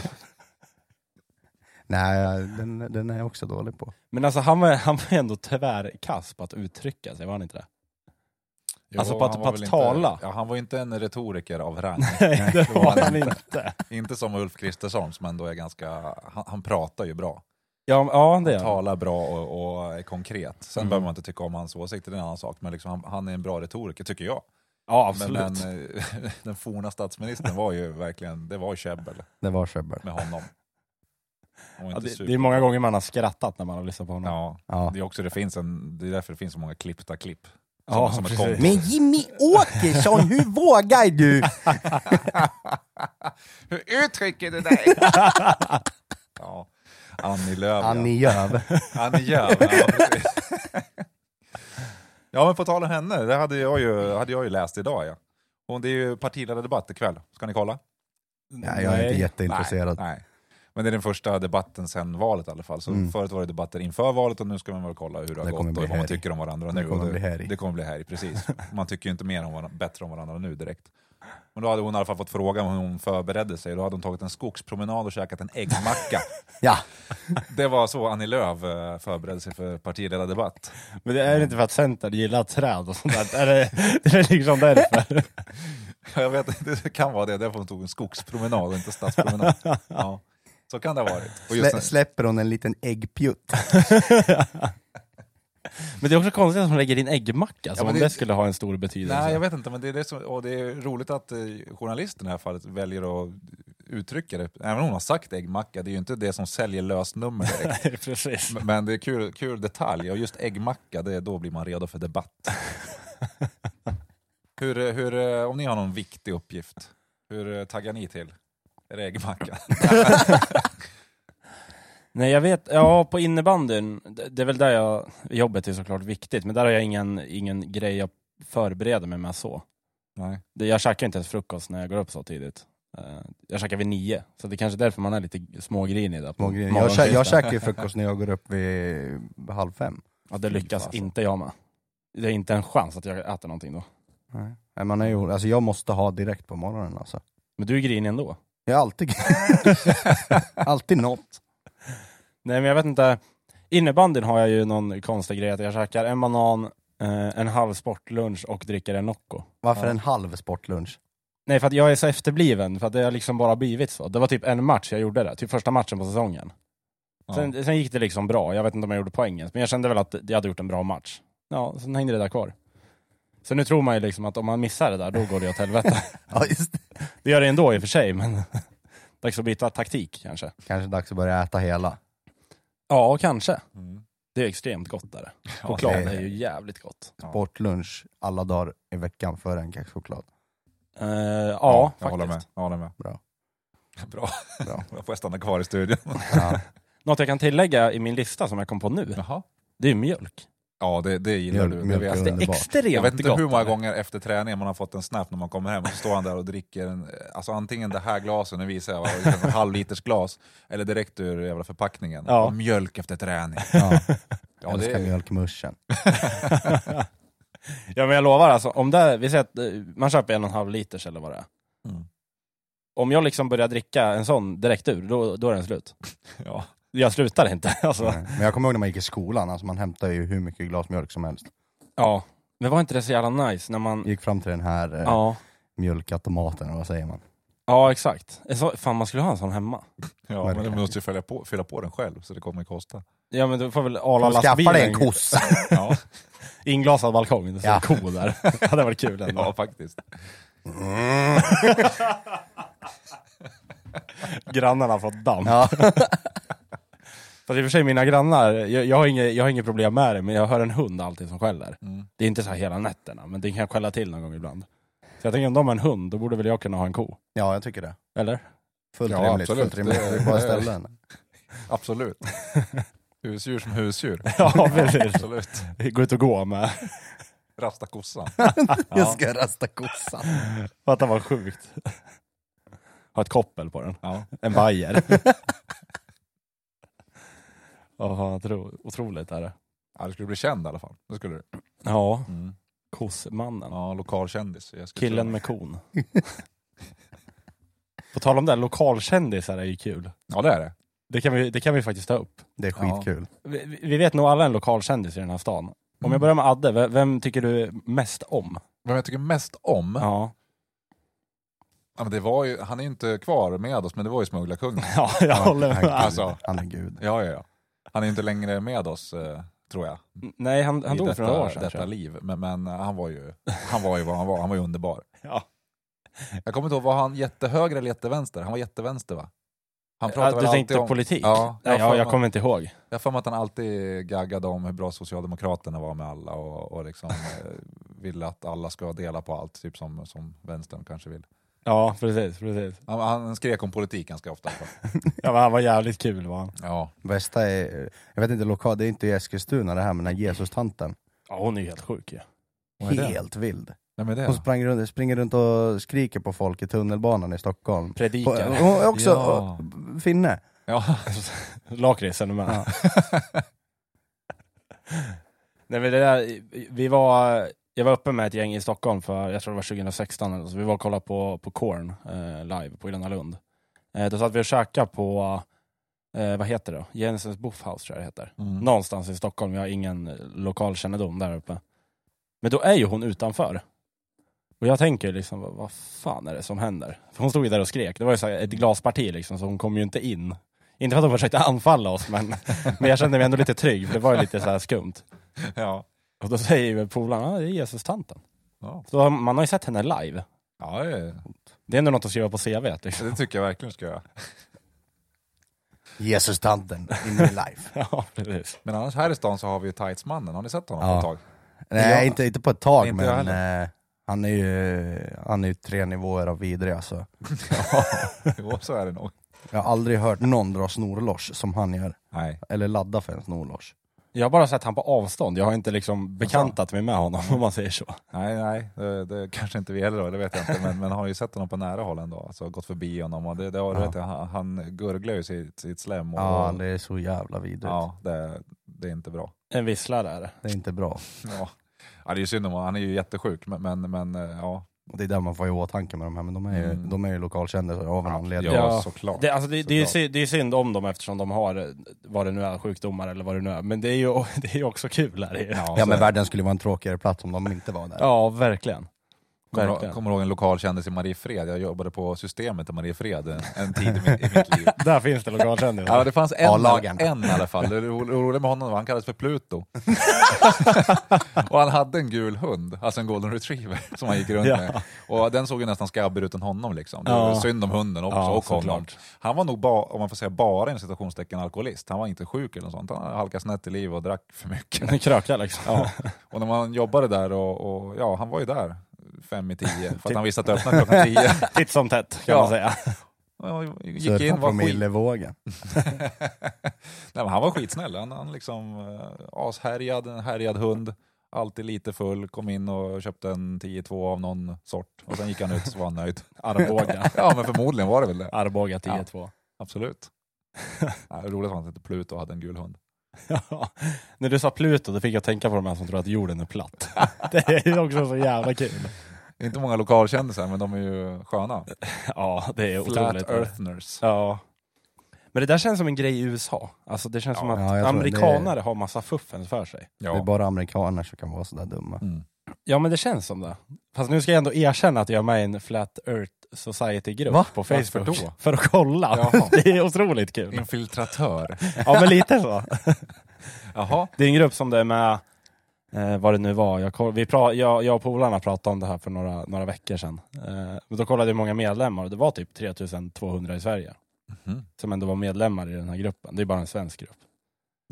Speaker 1: Nej, den, den är jag också dålig på.
Speaker 2: Men alltså han var, han var ändå tvärkass på att uttrycka sig, var han inte det?
Speaker 3: Jo,
Speaker 2: Alltså på att-
Speaker 3: han var
Speaker 2: på att
Speaker 3: väl
Speaker 2: tala.
Speaker 3: Inte, ja, han var ju inte en retoriker av rang.
Speaker 2: Nej, det
Speaker 3: det var
Speaker 2: var
Speaker 3: han
Speaker 2: han inte.
Speaker 3: inte som Ulf Kristersson som ändå är ganska... Han, han pratar ju bra.
Speaker 2: Ja, men- ja det gör han.
Speaker 3: Talar bra och, och är konkret. Sen
Speaker 2: Mm.
Speaker 3: behöver man inte tycka om hans åsikter, det är en annan sak. Men liksom, han, han är en bra retoriker, tycker jag.
Speaker 2: Ja,
Speaker 3: Men,
Speaker 2: absolut.
Speaker 3: men eh, den forna statsministern var ju verkligen, det var ju käbbel
Speaker 1: Det var Sjöbel.
Speaker 3: med honom. Och
Speaker 2: ja,
Speaker 3: inte
Speaker 2: det, det
Speaker 3: super-
Speaker 2: är många gånger man har skrattat när man har lyssnat på honom.
Speaker 3: Ja,
Speaker 1: Ja.
Speaker 3: det är också det finns en, det är därför det finns så många klippta klipp. Som,
Speaker 2: Ja,
Speaker 3: som ett
Speaker 2: precis.
Speaker 3: konto.
Speaker 1: Men Jimmy Åkesson, hur vågar du?
Speaker 3: Hur uttrycker du dig? ja. Annie Lööf. ja.
Speaker 1: Annie Lööf.
Speaker 3: Annie Lööf, ja, precis. ja, men på tal om henne, det hade jag ju, hade jag ju läst idag. Ja. Hon, det är ju partiledardebatt ikväll, ska ni kolla?
Speaker 1: Nej, jag är inte jätteintresserad.
Speaker 3: Nej, nej. Men det är den första debatten sedan valet i alla fall. Så
Speaker 1: Mm.
Speaker 3: Förut var det debatter inför valet och nu ska man väl kolla hur det har
Speaker 1: Det kommer
Speaker 3: gått
Speaker 1: bli
Speaker 3: och vad man
Speaker 1: härj.
Speaker 3: tycker om varandra
Speaker 1: Det
Speaker 3: nu.
Speaker 1: kommer
Speaker 3: och
Speaker 1: bli härj.
Speaker 3: det kommer bli här precis. Man tycker ju inte mer om varandra, bättre om varandra nu direkt. Men då hade hon i alla fall fått frågan hur hon förberedde sig. Då hade hon tagit en skogspromenad och käkat en äggmacka.
Speaker 1: Ja,
Speaker 3: det var så Annie Lööf eh, förberedde sig för partiledardebatt.
Speaker 2: Men det är inte för att Centern gillar träd och sånt där. Är det, det är liksom därför.
Speaker 3: Jag vet inte, det kan vara det. Därför hon tog en skogspromenad och inte stadspromenad. Ja, så kan det ha varit. Och just
Speaker 1: Slä, släpper hon en liten äggpjutt.
Speaker 2: Men det är också konstigt att hon lägger in äggmacka, som
Speaker 3: men
Speaker 2: om
Speaker 3: det-
Speaker 2: det skulle ha en stor betydelse.
Speaker 3: Nej, jag vet inte, men det är, det som, och det är roligt att eh, journalisten i det här fallet väljer att uttrycka det. Även om hon har sagt äggmacka, det är ju inte det som säljer lösnummer direkt.
Speaker 2: Nej, Precis.
Speaker 3: M- Men det är kul, kul detalj, och just äggmacka, det, är- då blir man redo för debatt. hur, eh, hur, eh, om ni har någon viktig uppgift, hur eh, taggar ni till? Är det äggmacka?
Speaker 2: Nej jag vet, ja på innebandyn, det, det är väl där jag, jobbet är såklart viktigt, men där har jag ingen, ingen grej jag förbereder mig med så.
Speaker 3: Nej.
Speaker 2: Det, jag käkar inte ens frukost när jag går upp så tidigt. Eh, jag käkar vid nio, så det är kanske är därför man är lite smågrinig där på
Speaker 1: Små grejer. Jag,
Speaker 2: morgonkvisten.
Speaker 1: kä- jag käkar ju frukost när jag går upp vid halv fem.
Speaker 2: Ja, det lyckas
Speaker 1: Fy fasen.
Speaker 2: inte jag med. Det är inte en chans att jag äter någonting då.
Speaker 1: Nej, man är ju, alltså jag måste ha direkt på morgonen alltså.
Speaker 2: Men du är grinig ändå.
Speaker 1: Jag är alltid, alltid något.
Speaker 2: Nej men jag vet inte, innebandyn har jag ju någon konstig grej att jag käkar en banan, eh, en halv sportlunch och dricker en Nocco.
Speaker 1: Varför
Speaker 2: Ja.
Speaker 1: en halv sportlunch?
Speaker 2: Nej för att jag är så efterbliven, för att det har liksom bara blivit så. Det var typ en match jag gjorde det, typ första matchen på säsongen.
Speaker 3: Ja.
Speaker 2: Sen, sen gick det liksom bra, jag vet inte om jag gjorde poängen, men jag kände väl att jag hade gjort en bra match. Ja, sen hängde det där kvar. Så nu tror man ju liksom att om man missar det där, då går det åt helvete.
Speaker 1: Ja, just det.
Speaker 2: det gör det ändå i och för sig, men dags att byta taktik kanske.
Speaker 1: Kanske dags att börja äta hela.
Speaker 2: Ja, kanske.
Speaker 3: Mm.
Speaker 2: Det är extremt gott där.
Speaker 3: Ja,
Speaker 2: Choklad
Speaker 1: det är-
Speaker 2: är ju jävligt gott.
Speaker 3: Ja.
Speaker 1: Sportlunch alla dagar i veckan före en kexchoklad.
Speaker 2: Eh, ja,
Speaker 3: Ja, jag
Speaker 2: faktiskt.
Speaker 3: håller med. Jag håller med.
Speaker 1: Bra.
Speaker 3: Bra.
Speaker 1: Bra.
Speaker 3: Då får jag stanna kvar i studion.
Speaker 1: Ja,
Speaker 2: Något jag kan tillägga i min lista som jag kom på nu,
Speaker 3: Jaha.
Speaker 2: det är mjölk.
Speaker 3: Ja, det, det gillar
Speaker 1: Mjölk-
Speaker 3: du. Det vet
Speaker 1: mjölk-
Speaker 3: jag.
Speaker 1: Underbart.
Speaker 2: Extremt
Speaker 3: Jag vet inte
Speaker 2: gott.
Speaker 3: hur många gånger efter träningen man har fått en snap när man kommer hem och så står han där och dricker en, alltså antingen det här glaset, nu visar jag, va, en halvliters glas, eller direkt ur jävla förpackningen.
Speaker 2: Ja.
Speaker 3: Och mjölk efter träning.
Speaker 1: ja.
Speaker 3: Ja,
Speaker 1: Älskar
Speaker 3: det,
Speaker 1: mjölkmuschen.
Speaker 2: Ja men jag lovar alltså, om det, vi säger att eh, man köper en och en halv liters eller vad det är.
Speaker 3: Mm.
Speaker 2: Om jag liksom börjar dricka en sån direkt ur, då, då är den slut.
Speaker 3: ja.
Speaker 2: Jag slutar inte. Alltså.
Speaker 1: Nej. Mm. Men jag kommer ihåg när man gick i skolan, alltså man hämtade ju hur mycket glas mjölk som helst.
Speaker 2: Ja. Men var inte det så jävla nice när man...
Speaker 1: Gick fram till den här eh,
Speaker 2: Ja,
Speaker 1: mjölkautomaten, eller vad säger man?
Speaker 2: ja exakt. En sån- Fan man skulle ha en sån hemma.
Speaker 3: Ja, men du måste ju följa på, fylla på den själv så det kommer att kosta.
Speaker 2: Ja men du får väl ala
Speaker 1: Man skaffar
Speaker 2: lastbilen.
Speaker 1: dig en kossa!
Speaker 2: Ja. Inglasad balkong, det står
Speaker 1: Ja.
Speaker 2: en ko där. Det hade varit kul ändå.
Speaker 3: Ja, faktiskt.
Speaker 2: Grannarna har fått damm.
Speaker 1: Ja.
Speaker 2: Fast i och för sig mina grannar, jag, jag, har inget, jag har inget problem med det, men jag hör en hund alltid som skäller.
Speaker 3: Mm.
Speaker 2: Det är inte så här hela nätterna, men det kan skälla till någon gång ibland. Så jag tänker om de har en hund, då borde väl jag kunna ha en ko?
Speaker 1: ja, jag tycker det.
Speaker 2: Eller?
Speaker 1: Fullt
Speaker 3: Ja,
Speaker 1: rimligt,
Speaker 3: absolut.
Speaker 1: fullt rimligt.
Speaker 3: Det-
Speaker 1: Det är bara ställen.
Speaker 3: Absolut. Husdjur som husdjur.
Speaker 2: Ja, precis.
Speaker 3: Absolut.
Speaker 2: Gå ut och gå med.
Speaker 3: Rasta kossan.
Speaker 1: Jag ska rasta kossan.
Speaker 2: Fatta vad sjukt. Ha ett koppel på den.
Speaker 3: Ja.
Speaker 2: En bajer. Ja, fan, otro- otroligt är det.
Speaker 3: Ja, du skulle bli känd i alla fall. Det skulle du.
Speaker 2: Ja,
Speaker 3: Mm.
Speaker 2: kossmannen.
Speaker 3: Ja, lokal kändis. Jag skulle
Speaker 2: Killen
Speaker 3: tro.
Speaker 2: med kon. På tal om det, här, lokalkändisar är ju kul.
Speaker 3: Ja, det är det.
Speaker 2: Det kan vi, det kan vi faktiskt ta upp.
Speaker 1: Det är
Speaker 3: Ja.
Speaker 1: skitkul.
Speaker 2: Vi, vi- vi vet nog alla en lokalkändis i den här stan. Om
Speaker 3: Mm.
Speaker 2: jag börjar med Adde, ve- vem tycker du mest om?
Speaker 3: Vem jag tycker mest om, ja.
Speaker 2: Ja,
Speaker 3: men det var ju, han är ju inte kvar med oss, men det var ju Smugglarkungen.
Speaker 2: ja jag håller
Speaker 1: Han,
Speaker 2: med.
Speaker 1: han,
Speaker 3: Alltså.
Speaker 1: gud. han är gud.
Speaker 3: Ja, ja, ja. Han är ju inte längre med oss, eh, tror jag.
Speaker 2: Nej, han, han
Speaker 3: i
Speaker 2: dog
Speaker 3: detta,
Speaker 2: för några år sedan.
Speaker 3: detta
Speaker 2: tror jag.
Speaker 3: liv. Men, men eh, han, var ju, han var ju vad han var. Han var ju underbar.
Speaker 2: Ja.
Speaker 3: Jag kommer inte ihåg, var han jättehöger eller jättevänster? Han var jättevänster va? Han pratade
Speaker 2: Ja,
Speaker 3: väl
Speaker 2: du
Speaker 3: alltid
Speaker 2: tänkte
Speaker 3: om,
Speaker 2: politik?
Speaker 3: Ja,
Speaker 2: Nej,
Speaker 3: jag har
Speaker 2: ja,
Speaker 3: för
Speaker 2: jag
Speaker 3: mig-
Speaker 2: kommer inte ihåg.
Speaker 3: Jag har för mig att han alltid gaggade om hur bra Socialdemokraterna var med alla och, och liksom eh, ville att alla ska dela på allt, typ som, som vänstern kanske vill.
Speaker 2: Ja, precis. precis.
Speaker 3: Han, han skrek om politik ganska ofta. i alla fall.
Speaker 2: Ja, men han var jävligt kul var han.
Speaker 3: Ja,
Speaker 1: Bästa är, jag vet inte lokal, det är inte i Eskilstuna det här, men den här Jesus-tanten.
Speaker 2: Ja, hon är ju helt sjuk ju.
Speaker 3: Vad är det?
Speaker 1: Helt vild.
Speaker 3: vem är det?
Speaker 1: Hon sprang runt, springer runt och skriker på folk i tunnelbanan i Stockholm. På,
Speaker 2: Predikar.
Speaker 1: hon är också
Speaker 3: Ja.
Speaker 1: och- finne.
Speaker 3: Ja,
Speaker 2: Lakrits är du med?
Speaker 1: Ja.
Speaker 2: Nej, men det där, vi var, jag var uppe med ett gäng i Stockholm för, jag tror det var 2016 eller så. Vi var och kollade på, på Korn eh, live på Gröna Lund. Eh, då satt vi och käkade på, eh, vad heter det då? Jensens Boffhaus tror jag det heter.
Speaker 3: mm.
Speaker 2: Någonstans i Stockholm, jag har ingen lokalkännedom där uppe. Men då är ju hon utanför. Och jag tänker liksom, vad, vad fan är det som händer? För hon stod ju där och skrek, det var ju så här ett glasparti liksom, så hon kom ju inte in. Inte för att hon försökte anfalla oss, men, men jag kände mig ändå lite trygg, för det var ju lite så här skumt.
Speaker 3: ja.
Speaker 2: Och då säger ju polaren, ah, det är Jesus-tanten.
Speaker 3: Ja.
Speaker 2: Så har- man har ju sett henne live.
Speaker 3: ja, det-
Speaker 2: Det är ändå något att skriva på CV. Liksom.
Speaker 3: det tycker jag verkligen ska göra.
Speaker 1: Jesus-tanten in real life.
Speaker 2: Ja, precis.
Speaker 3: Men annars här i stan så har vi ju tightsmannen, har ni sett honom på
Speaker 1: Ja.
Speaker 3: ett tag?
Speaker 1: Nej,
Speaker 3: Ja.
Speaker 1: inte, inte på ett
Speaker 3: Nej,
Speaker 1: tag,
Speaker 3: inte jag
Speaker 1: men eh, han är ju han är ju tre nivåer av vidrig alltså.
Speaker 3: Jo, så är det nog.
Speaker 1: Jag har aldrig hört någon dra snorlosch som han gör,
Speaker 3: Nej.
Speaker 1: eller ladda för en snorlosch.
Speaker 2: Jag har bara sett han på avstånd. Jag har inte liksom bekantat mig med honom, om man säger så.
Speaker 3: Nej, nej, det, det kanske inte vi heller då, det vet jag inte. Men, men har ju sett honom på nära håll ändå, alltså gått förbi honom. Och det, det, har- du
Speaker 1: Ja.
Speaker 3: vet, han, han gurglar ju sitt, sitt slem. Och,
Speaker 1: Ja, det är så jävla vidrigt.
Speaker 3: ja, det, det är inte bra.
Speaker 2: En visslare är det.
Speaker 1: Det är inte bra.
Speaker 3: Ja. Ja, det är ju synd om honom, han är ju jättesjuk. Men, men, men eh, ja,
Speaker 1: Och det är där man får i åtanke med de här, men de är ju,
Speaker 3: Mm.
Speaker 1: de är ju lokalkändisar av en
Speaker 3: ja,
Speaker 1: anledning.
Speaker 2: Ja.
Speaker 3: såklart.
Speaker 2: Det, alltså, det, det, är ju
Speaker 3: Såklart.
Speaker 2: synd, det är synd om dem eftersom de har eh, vad det nu är, sjukdomar eller vad det nu är. Men det är ju, det är ju också kul. Här. i-
Speaker 1: Ja
Speaker 3: så är
Speaker 1: men
Speaker 3: det.
Speaker 1: världen skulle vara en tråkigare plats om de inte var där.
Speaker 2: Ja, verkligen.
Speaker 3: Kommer, du-
Speaker 2: verkligen.
Speaker 3: kommer du ihåg en lokal kändis i Mariefred? Jag jobbade på Systemet i Mariefred en, en tid i mitt, i mitt liv.
Speaker 2: Där finns det lokalkändisar.
Speaker 3: Ja, det fanns en,
Speaker 1: A-lagen.
Speaker 3: en i alla fall. Det ro- roliga med honom var han kallades för Pluto. och han hade en gul hund, alltså en golden retriever, som han gick runt
Speaker 2: Ja.
Speaker 3: med. Och den såg ju nästan skabbig ut än honom. Liksom. Det
Speaker 2: Ja.
Speaker 3: var synd om hunden också,
Speaker 2: Ja,
Speaker 3: och honom.
Speaker 2: såklart.
Speaker 3: Han var nog, ba, om man får säga bara en citationstecken, alkoholist. Han var inte sjuk eller något sånt. Han halkade snett i livet och drack för mycket.
Speaker 2: Kröka liksom.
Speaker 3: Ja. Och när man jobbade där, och, och ja, han var ju där fem i tio, för att han visste att det öppnade klockan tio.
Speaker 2: Titt som tätt kan
Speaker 3: Ja.
Speaker 2: man säga.
Speaker 3: Och Gick
Speaker 1: Surfa
Speaker 3: in, var skit,
Speaker 1: promillevågen.
Speaker 3: Nej, men han var skitsnäll. Han, han liksom eh, ashärjad, en härjad hund. Alltid lite full, kom in och köpte en 10-2 av någon sort. Och sen gick han ut och så var han nöjd.
Speaker 2: Arboga.
Speaker 3: Ja men förmodligen var det väl det.
Speaker 2: Arboga 10-2.
Speaker 3: Absolut. Nej, det är roligt att han hette Pluto och hade en gul hund.
Speaker 2: Ja. När du sa Pluto, då fick jag tänka på de här som tror att jorden är platt. Det är ju också så jävla kul.
Speaker 3: Det är inte många lokalkändisar men de är ju sköna.
Speaker 2: Ja, det är
Speaker 3: Flat
Speaker 2: otroligt.
Speaker 3: earthners.
Speaker 2: Ja. Men det där känns som en grej i USA. Alltså det känns
Speaker 3: Ja.
Speaker 2: som att
Speaker 1: Ja, jag tror
Speaker 2: amerikanare har massa fuffens för sig.
Speaker 3: Ja.
Speaker 1: Det är bara amerikaner som kan vara sådär dumma.
Speaker 3: Mm.
Speaker 2: Ja men det känns som det. Fast nu ska jag ändå erkänna att jag är med i en Flat Earth Society-grupp
Speaker 1: Va?
Speaker 2: på Facebook.
Speaker 3: Varför då?
Speaker 2: För att kolla.
Speaker 3: Jaha.
Speaker 2: Det är otroligt kul.
Speaker 3: Infiltratör.
Speaker 2: Ja men lite så.
Speaker 3: Jaha.
Speaker 2: Det är en grupp som det är med, eh, vad det nu var, jag, koll- vi pra, jag, jag och polarna pratade om det här för några, några veckor sedan. Eh, och då kollade jag hur många medlemmar och det var typ 3200 i Sverige
Speaker 3: Mhm.
Speaker 2: som ändå var medlemmar i den här gruppen. Det är bara en svensk grupp.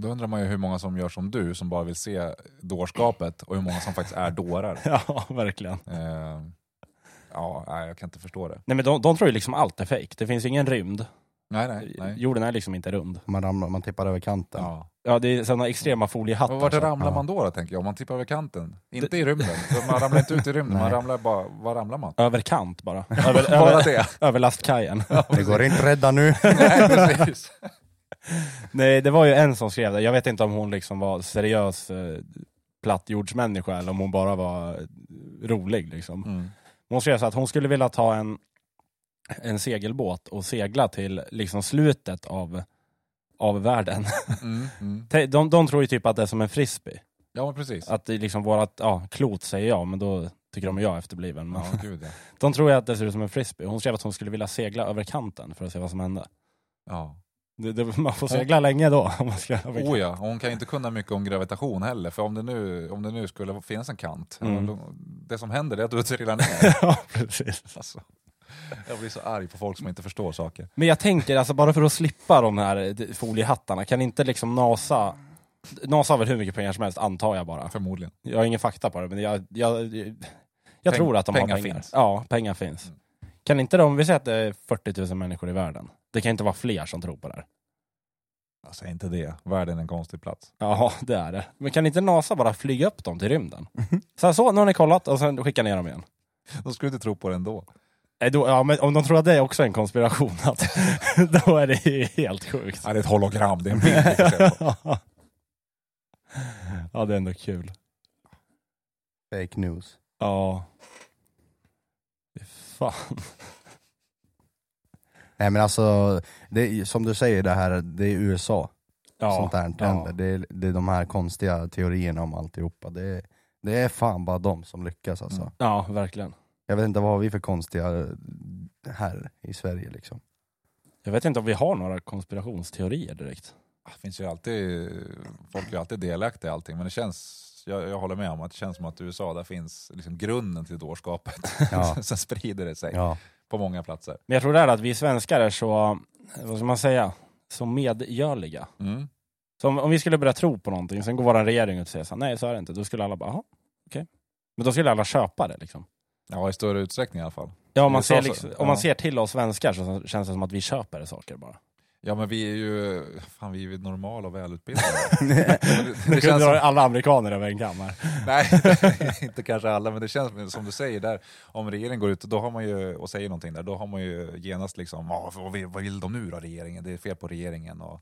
Speaker 3: Då undrar man ju hur många som gör som du, som bara vill se dårskapet och hur många som faktiskt är dårar.
Speaker 2: Ja, verkligen.
Speaker 3: Eh, ja, nej, jag kan inte förstå det.
Speaker 2: Nej men de, de tror ju liksom allt är fejk. Det finns ingen rymd.
Speaker 3: Nej, nej, nej.
Speaker 2: Jorden är liksom inte rund.
Speaker 1: Man, ramlar, man tippar över kanten.
Speaker 3: Ja.
Speaker 2: Ja, det är sådana extrema foliehattar.
Speaker 3: Men vart
Speaker 2: så.
Speaker 3: ramlar
Speaker 1: Ja.
Speaker 3: man då, då tänker jag? Om man tippar över kanten. Inte i rymden. Så Man ramlar inte ut i rymden, man
Speaker 1: Nej.
Speaker 3: ramlar bara... Var ramlar man?
Speaker 2: Överkant bara. Över,
Speaker 3: Bara
Speaker 2: över,
Speaker 3: det.
Speaker 2: över lastkajen.
Speaker 1: det går inte att rädda nu.
Speaker 3: Nej, precis.
Speaker 2: Nej, det var ju en som skrev det. Jag vet inte om hon liksom var seriös eh, plattjordsmänniska eller om hon bara var eh, rolig. Liksom.
Speaker 3: Mm.
Speaker 2: Hon skrev så att hon skulle vilja ta en, en segelbåt och segla till liksom slutet av, av världen.
Speaker 3: Mm. Mm.
Speaker 2: Te- De, de tror ju typ att det är som en frisbee.
Speaker 3: Ja, men precis.
Speaker 2: Att det är liksom vårat, ja, klot säger jag, men då tycker de att jag är efterbliven. Men
Speaker 3: Ja, gud ja.
Speaker 2: De tror ju att det ser ut som en frisbee. Hon skrev att hon skulle vilja segla över kanten för att se vad som hände.
Speaker 3: ja.
Speaker 2: Det, det, man får segla länge då. Om man ska
Speaker 3: Oh ja, och hon kan ju inte kunna mycket om gravitation heller, för om det nu, om det nu skulle finnas en kant,
Speaker 2: Mm.
Speaker 3: då- det som händer är att du trillar ner.
Speaker 2: ja, precis.
Speaker 3: Alltså, jag blir så arg på folk som inte förstår saker.
Speaker 2: Men jag tänker, alltså bara för att slippa de här eh, d- foliehattarna, kan inte liksom NASA... NASA har väl hur mycket pengar som helst, antar jag bara.
Speaker 3: Förmodligen.
Speaker 2: Jag har ingen fakta på det, men jag, jag, jag
Speaker 3: Peng-
Speaker 2: tror att de
Speaker 3: pengar
Speaker 2: har pengar.
Speaker 3: finns.
Speaker 2: Ja, pengar finns.
Speaker 3: Mm.
Speaker 2: Kan inte de, vi säger att det är 40 000 människor i världen. Det kan inte vara fler som tror på det här.
Speaker 3: Jag säger inte det, världen är en konstig plats.
Speaker 2: Ja, det är det. Men kan inte NASA bara flyga upp dem till rymden? Så, här, så nu har ni kollat och sen skicka ner dem igen.
Speaker 3: De skulle inte tro på det ändå.
Speaker 2: Nej, Eh, då, ja, men om de tror att det är också en konspiration, att, då är det ju helt sjukt.
Speaker 3: Ja, det är ett hologram, det är en bild. vi får se på.
Speaker 2: ja, det är ändå kul.
Speaker 1: Fake news.
Speaker 2: Ja. Fy Fan.
Speaker 1: Nej men alltså, det är, som du säger det här, det är USA.
Speaker 2: Ja.
Speaker 1: sånt där händer. Det, är, det är de här konstiga teorierna om alltihopa. Det är, det är fan bara de som lyckas alltså.
Speaker 3: Mm.
Speaker 2: Ja, verkligen.
Speaker 1: Jag vet inte vad har vi för konstiga eh, här i Sverige liksom.
Speaker 2: Jag vet inte om vi har några konspirationsteorier direkt.
Speaker 3: Det finns ju alltid, folk är ju alltid delaktiga i allting, men det känns, jag, jag håller med om att det känns som att i USA, där finns liksom grunden till dårskapet.
Speaker 1: Ja.
Speaker 3: Sen sprider det sig
Speaker 1: Ja.
Speaker 3: på många platser.
Speaker 2: Men jag tror det är att vi svenskar är så, vad ska man säga, så medgörliga.
Speaker 3: Mm.
Speaker 2: Så om, om vi skulle börja tro på någonting, sen går vår regering ut och säger så här, nej så är det inte. Då skulle alla bara, jaha, okej. Men då skulle alla köpa det liksom.
Speaker 3: Ja, i större utsträckning i alla fall.
Speaker 2: Ja, om man,
Speaker 3: I USA
Speaker 2: ser,
Speaker 3: så-
Speaker 2: liksom,
Speaker 3: ja.
Speaker 2: om man ser till oss svenskar så känns det som att vi köper saker bara.
Speaker 3: Ja men vi är ju, fan vi är ju normala och välutbildade. Men det,
Speaker 2: Nu
Speaker 3: det känns
Speaker 2: kunde
Speaker 3: som,
Speaker 2: alla amerikaner över en kammare.
Speaker 3: nej, inte kanske alla, men det känns som du säger där, om regeringen går ut då har man ju, och säger någonting där, då har man ju genast liksom, "Ja, vad vill- vad vill de nu då regeringen? Det är fel på regeringen. Och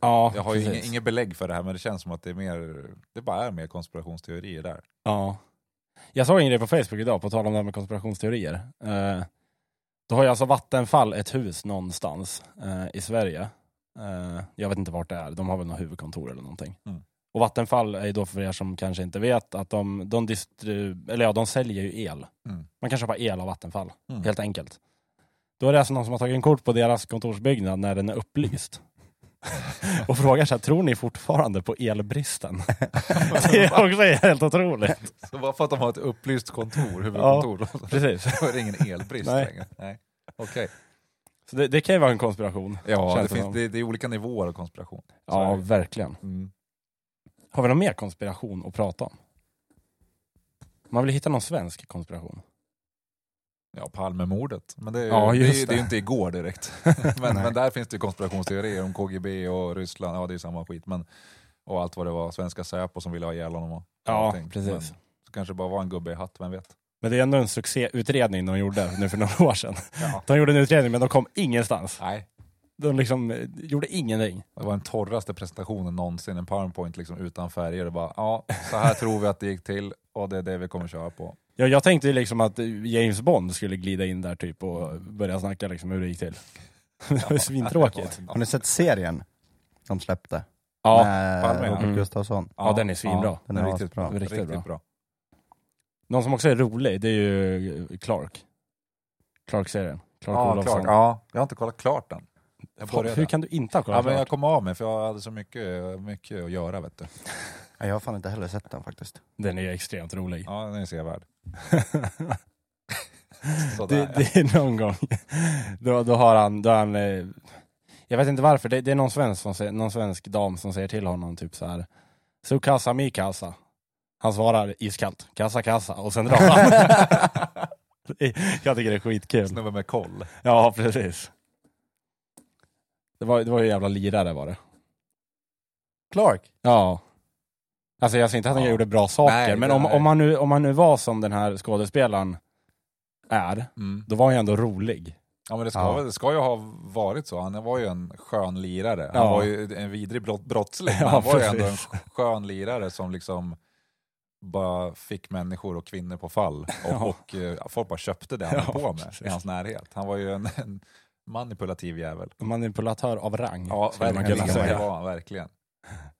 Speaker 2: Ja,
Speaker 3: jag har ju
Speaker 2: precis.
Speaker 3: inget, inget belägg för det här, men det känns som att det är mer, det bara är mer konspirationsteorier där.
Speaker 2: Ja. Jag såg en grej på Facebook idag, på tal om det här med konspirationsteorier. Eh, då har ju alltså Vattenfall ett hus någonstans eh, i Sverige. Eh, jag vet inte vart det är, de har väl något huvudkontor eller någonting.
Speaker 3: Mm.
Speaker 2: Och Vattenfall är ju då för er som kanske inte vet att de, de, distri- eller ja, de säljer ju el.
Speaker 3: Mm.
Speaker 2: Man kan köpa el av Vattenfall,
Speaker 3: Mm.
Speaker 2: helt enkelt. Då är det alltså någon som har tagit en kort på deras kontorsbyggnad när den är upplyst. och frågar så här, tror ni fortfarande på elbristen? det är också helt otroligt.
Speaker 3: Så bara för att de har ett upplyst kontor, huvudkontor,
Speaker 2: Precis.
Speaker 3: då är det ingen elbrist
Speaker 2: Nej.
Speaker 3: längre. Nej. Okej.
Speaker 2: Så det, det kan ju vara en konspiration. Känns
Speaker 3: Ja, det,
Speaker 2: det som.
Speaker 3: finns, det, det är olika nivåer av konspiration. Så är det.
Speaker 2: verkligen.
Speaker 3: Mm.
Speaker 2: Har vi någon mer konspiration att prata om? Man vill hitta någon svensk konspiration.
Speaker 3: Ja, Palmemordet. Men det är ju,
Speaker 2: Ja,
Speaker 3: det är,
Speaker 2: just
Speaker 3: ju- det är ju inte igår direkt. men, men där finns det ju konspirationsteorier om KGB och Ryssland, ja det är samma skit. Men, och allt vad det var, svenska Säpo som ville ha ihjäl honom och allting. Men, så kanske det bara var en gubbe i hatt, vem vet.
Speaker 2: Men det är ändå en succéutredning de gjorde nu för några år sedan.
Speaker 3: Ja.
Speaker 2: De gjorde en utredning men de kom ingenstans.
Speaker 3: Nej,
Speaker 2: De liksom eh, gjorde ingenting.
Speaker 3: det var den torraste presentationen någonsin, en powerpoint liksom utan färger. Det bara, ja, så här tror vi att det gick till och det är det vi kommer köra på.
Speaker 2: Jag, jag tänkte ju liksom att eh, James Bond skulle glida in där typ och börja snacka liksom hur det gick till. det var ju svintråkigt.
Speaker 3: Ja.
Speaker 1: Har ni sett serien de släppte?
Speaker 2: Ja,
Speaker 1: Med
Speaker 3: Palme, ja.
Speaker 1: Robert
Speaker 2: Mm.
Speaker 1: Gustafsson.
Speaker 2: ja, den är svinbra.
Speaker 1: Den
Speaker 3: Den är
Speaker 1: är
Speaker 3: riktigt
Speaker 1: asbra.
Speaker 2: bra. Riktigt
Speaker 3: Riktigt
Speaker 2: bra.
Speaker 3: bra.
Speaker 2: Någon som också är rolig, det är ju Clark. Clark-serien. Clark
Speaker 3: Ja,
Speaker 2: Olofsson.
Speaker 3: klart. ja, jag har inte kollat klart den. Jag började.
Speaker 2: Hur kan du inte ha
Speaker 3: ja,
Speaker 2: kollat
Speaker 3: men jag
Speaker 2: klart?
Speaker 3: kom av mig för jag hade så mycket, mycket att göra vet du.
Speaker 1: Ja, Jag har fan inte heller sett den faktiskt.
Speaker 2: Den är extremt rolig.
Speaker 3: Ja, den är sevärd.
Speaker 2: det,
Speaker 3: Sådär.
Speaker 2: det är någon gång. Då, då har han, då har han eh, jag vet inte varför, det, det är någon svensk, som säger, någon svensk dam som säger till honom typ så här. Så kassa mi kassa. Han svarar iskallt, kassa kassa och sen drar han. jag tycker det är skitkul.
Speaker 3: Snubben med koll.
Speaker 2: Ja, precis. Det var, det var ju en jävla lirare var det.
Speaker 1: Clark?
Speaker 2: Ja. Alltså jag säger inte att han
Speaker 3: Ja.
Speaker 2: gjorde bra saker,
Speaker 3: Nej,
Speaker 2: men
Speaker 3: det-
Speaker 2: om, om, han nu, om han nu var som den här skådespelaren är,
Speaker 3: Mm.
Speaker 2: då var han ju ändå rolig.
Speaker 3: Ja, men det ska,
Speaker 1: Ja.
Speaker 3: väl- det ska ju ha varit så. Han var ju en skön lirare. Han
Speaker 2: Ja.
Speaker 3: var ju en vidrig brott, brottsling, men
Speaker 2: Ja,
Speaker 3: han var ju ändå en
Speaker 2: precis.
Speaker 3: skön lirare som liksom bara fick människor och kvinnor på fall. Och,
Speaker 2: Ja.
Speaker 3: och eh, folk bara köpte det han höll
Speaker 2: Ja,
Speaker 3: på med
Speaker 2: precis.
Speaker 3: i hans närhet. Han var ju en, en manipulativ jävel.
Speaker 2: Manipulatör av rang,
Speaker 3: Ja,
Speaker 2: skulle man
Speaker 3: verkligen.
Speaker 2: kunna
Speaker 3: Det
Speaker 2: säga.
Speaker 3: var han verkligen.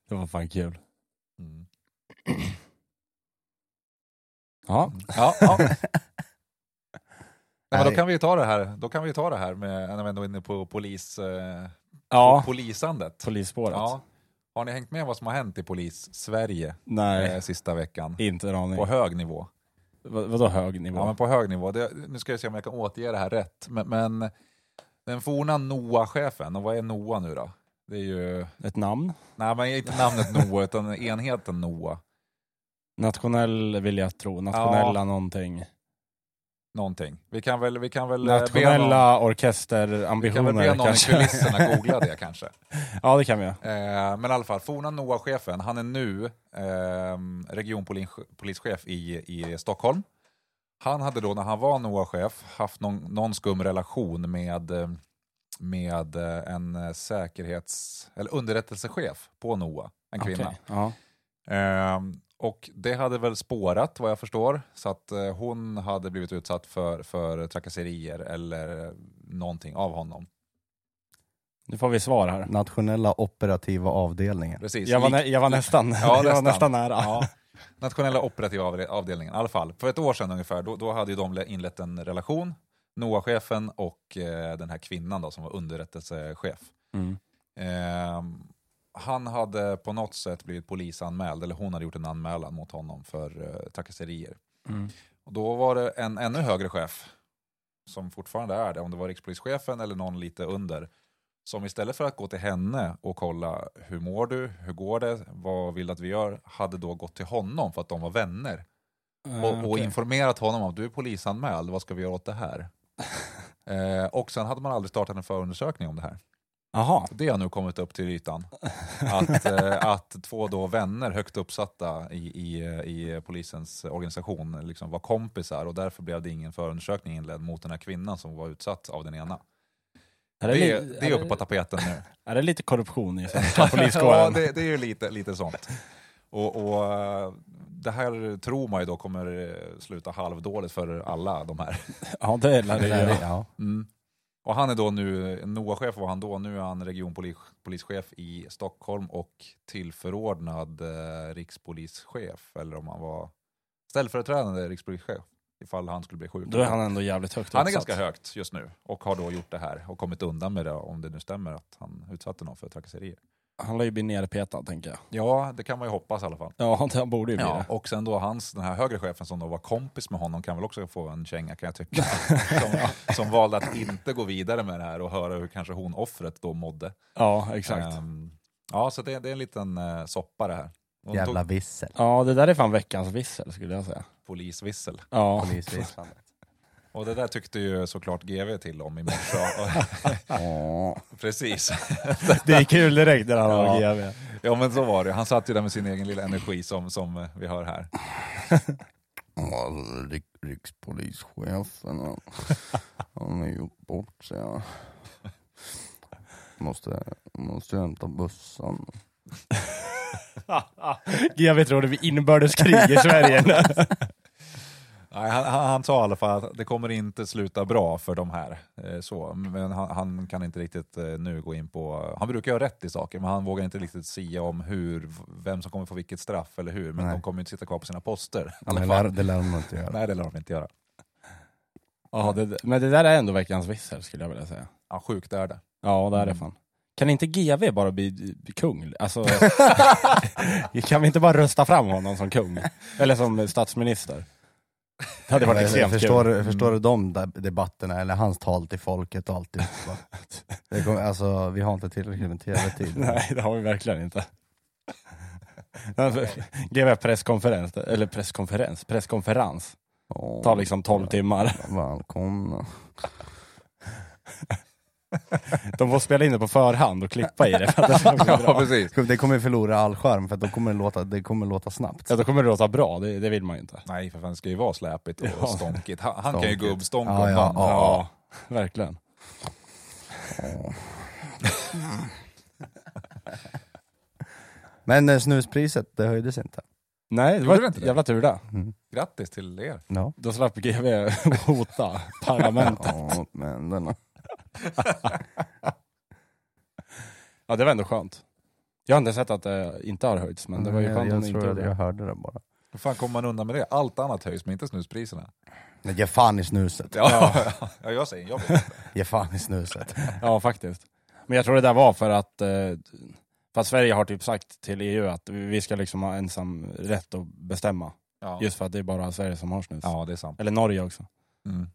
Speaker 2: Det var fan kul.
Speaker 3: Mm.
Speaker 2: Ja.
Speaker 3: Ja, ja. Nej, men
Speaker 1: Nej.
Speaker 3: då kan vi ju ta det här, då kan vi ju ta det här med, när vi ändå är inne på polis, eh,
Speaker 2: ja,
Speaker 3: polisandet.
Speaker 2: polisspåret.
Speaker 3: Ja. Har ni hängt med vad som har hänt i polis-Sverige
Speaker 2: Nej,
Speaker 3: eh, sista veckan?
Speaker 2: inte en aning.
Speaker 3: På hög nivå.
Speaker 2: Vad, vadå hög nivå?
Speaker 3: Ja, men på hög nivå. Det, nu ska jag se om jag kan återge det här rätt. Men, men den forna NOA-chefen, och vad är NOA nu då? Det är ju,
Speaker 2: Ett namn?
Speaker 3: nej men inte namnet NOA utan enheten NOA.
Speaker 2: Nationell vill jag tro, nationella någonting.
Speaker 3: Någonting. Vi kan väl, vi kan väl eh, be någon,
Speaker 2: Nationella
Speaker 3: vi kan väl be
Speaker 2: orkesterambitioner
Speaker 3: någon i
Speaker 2: kanske.
Speaker 3: kulisserna googla det kanske.
Speaker 2: ja, det kan vi. göra.
Speaker 3: Eh, men i alla fall, forna NOA-chefen, han är nu eh, regionpolischef i, i Stockholm. Han hade då när han var NOA-chef haft någon, någon skum relation med, eh, med eh, en eh, säkerhets eller underrättelsechef på NOA, en kvinna.
Speaker 2: Okej, Ja.
Speaker 3: Ehm, och det hade väl spårat vad jag förstår, så att eh, hon hade blivit utsatt för, för trakasserier eller eh, någonting av honom.
Speaker 2: Nu får vi svar här.
Speaker 1: Nationella operativa avdelningen.
Speaker 3: Precis.
Speaker 2: Jag var,
Speaker 3: Lik-
Speaker 2: nä- jag var nästan, jag var nästan nära.
Speaker 3: Ja. Nationella operativa avde- avdelningen, i alla fall. För ett år sedan ungefär, då, då hade ju de le- inlett en relation, NOA-chefen och eh, den här kvinnan då, som var underrättelsechef.
Speaker 2: Mm.
Speaker 3: Ehm, han hade på något sätt blivit polisanmäld, eller hon hade gjort en anmälan mot honom för eh, trakasserier.
Speaker 2: Mm.
Speaker 3: Och då var det en ännu högre chef, som fortfarande är det, om det var rikspolischefen eller någon lite under, som istället för att gå till henne och kolla hur mår du, hur går det, vad vill du att vi gör, hade då gått till honom för att de var vänner och,
Speaker 2: Eh,
Speaker 3: och
Speaker 2: okej.
Speaker 3: informerat honom om att du är polisanmäld, vad ska vi göra åt det här? Eh, och sen hade man aldrig startat en förundersökning om det här.
Speaker 2: Jaha.
Speaker 3: Det har nu kommit upp till ytan. Att, eh, att två då vänner, högt uppsatta i, i, eh, i polisens organisation, liksom var kompisar och därför blev det ingen förundersökning inledd mot den här kvinnan som var utsatt av den ena.
Speaker 2: Är
Speaker 3: Det, är-
Speaker 2: li-
Speaker 3: det är uppe på tapeten nu.
Speaker 2: är det lite korruption i svenska
Speaker 3: ja,
Speaker 2: poliskåren?
Speaker 3: det, det är ju lite, lite sånt. Och, och eh, det här tror man ju då kommer eh, sluta halvdåligt för alla de här.
Speaker 2: Ja, det lär det
Speaker 1: Eller,
Speaker 2: göra.
Speaker 1: ja.
Speaker 3: Mm. Och han är då nu, NOA-chef var han då, nu är han regionpolischef i Stockholm och tillförordnad eh, rikspolischef, eller om han var ställföreträdande rikspolischef, ifall han skulle bli sjuk.
Speaker 2: Då är han ändå jävligt högt
Speaker 3: Han är
Speaker 2: uppsatt.
Speaker 3: ganska högt just nu och har då gjort det här och kommit undan med det om det nu stämmer att han utsatte någon för trakasserier.
Speaker 2: Han lär ju bli nerpetad, tänker jag.
Speaker 3: Ja, det kan man ju hoppas i alla fall.
Speaker 2: Ja, han borde ju bli
Speaker 3: Ja,
Speaker 2: det.
Speaker 3: och sen då hans, den här högre chefen som då var kompis med honom kan väl också få en känga kan jag tycka. som, som valde att inte gå vidare med det här och höra hur kanske hon, offret, då mådde.
Speaker 2: Ja, exakt.
Speaker 3: Ehm, ja, så det, det är en liten uh, soppa det här. Hon
Speaker 1: Jävla
Speaker 3: tog
Speaker 1: vissel.
Speaker 2: Ja, det där är fan veckans vissel, skulle jag säga.
Speaker 3: polisvissel.
Speaker 2: Ja,
Speaker 1: Polisvisslandet.
Speaker 3: Och det där tyckte ju såklart GV till om i morse.
Speaker 1: Åh.
Speaker 3: Precis.
Speaker 2: det är kul direkt när han har
Speaker 3: Ja.
Speaker 2: GV.
Speaker 3: Ja men så var det. Han satt ju där med sin egen lilla energi som, som eh, vi hör här.
Speaker 1: Ja, rik- rikspolischefen, han- han har gjort bort sig. ja. Måste, måste hämta bussen.
Speaker 2: GV tror det blir inbördeskrig i Sverige.
Speaker 3: Nej, han, han, han sa i alla fall att det kommer inte sluta bra för de här. Eh, så. Men han, han kan inte riktigt eh, nu gå in på... Han brukar göra rätt i saker, men han vågar inte riktigt sia om hur, vem som kommer få vilket straff eller hur. Men
Speaker 1: Nej.
Speaker 3: de kommer ju inte sitta kvar på sina poster. i alla
Speaker 1: Det
Speaker 3: fall.
Speaker 1: lär, det lär de inte göra.
Speaker 3: Nej, det lär de inte göra.
Speaker 2: Ja, det, men det där är ändå veckans vissel skulle jag vilja säga.
Speaker 3: Ja, sjukt är det.
Speaker 2: Ja, det är det fan. Kan inte GV bara bli bli kung? Alltså, kan vi inte bara rösta fram honom som kung? Eller som statsminister? Det hade varit
Speaker 1: Jag
Speaker 2: extremt
Speaker 1: förstår,
Speaker 2: kul. Mm.
Speaker 1: förstår du de där debatterna, eller hans tal till folket och alltihopa? Det kommer, alltså, vi har inte tillräckligt med tv-tid.
Speaker 2: Nej, det har vi verkligen inte. GV presskonferens, eller presskonferens, presskonferens.
Speaker 1: Åh,
Speaker 2: Tar liksom 12 timmar.
Speaker 1: Välkomna.
Speaker 2: De får spela in det på förhand och klippa i det för att det ska bli
Speaker 3: Ja,
Speaker 2: bra.
Speaker 3: precis.
Speaker 1: Det kommer förlora all charm för att de kommer låta, det kommer låta snabbt.
Speaker 2: Ja, då kommer det låta bra, det, det vill man ju inte.
Speaker 3: Nej, för fan, det ska ju vara släpigt och
Speaker 2: Ja.
Speaker 3: stånkigt. Han, han kan ju
Speaker 1: Stånkigt.
Speaker 3: gubbstånka
Speaker 1: Ja, ja,
Speaker 3: band.
Speaker 2: Ja, verkligen.
Speaker 1: Men eh, snuspriset, det höjdes inte.
Speaker 2: Nej, det
Speaker 3: Gjorde
Speaker 2: var
Speaker 3: det inte det?
Speaker 2: jävla tur det.
Speaker 3: Grattis till er.
Speaker 1: Mm. Ja.
Speaker 2: Då slapp GV hota parlamentet.
Speaker 1: Ja, men den...
Speaker 2: Ja, det var ändå skönt. Jag har inte sett att det inte har höjts, men det var ju
Speaker 1: jag,
Speaker 2: skönt om
Speaker 1: jag
Speaker 2: det inte
Speaker 1: tror att
Speaker 2: gjorde
Speaker 1: jag
Speaker 2: det.
Speaker 1: hörde det bara.
Speaker 3: Hur fan kommer man undan med det? Allt annat höjs, men inte snuspriserna.
Speaker 1: Nej, ge fan i snuset.
Speaker 3: Ja, ja jag säger jag vet.
Speaker 1: Ge fan i snuset.
Speaker 2: Ja, faktiskt. Men jag tror det där var för att, eh, för att Sverige har typ sagt till EU att vi ska liksom ha ensam rätt att bestämma.
Speaker 3: Ja.
Speaker 2: Just för att det är bara Sverige som har snus.
Speaker 3: ja, det är sant.
Speaker 2: Eller Norge också.
Speaker 3: Mm.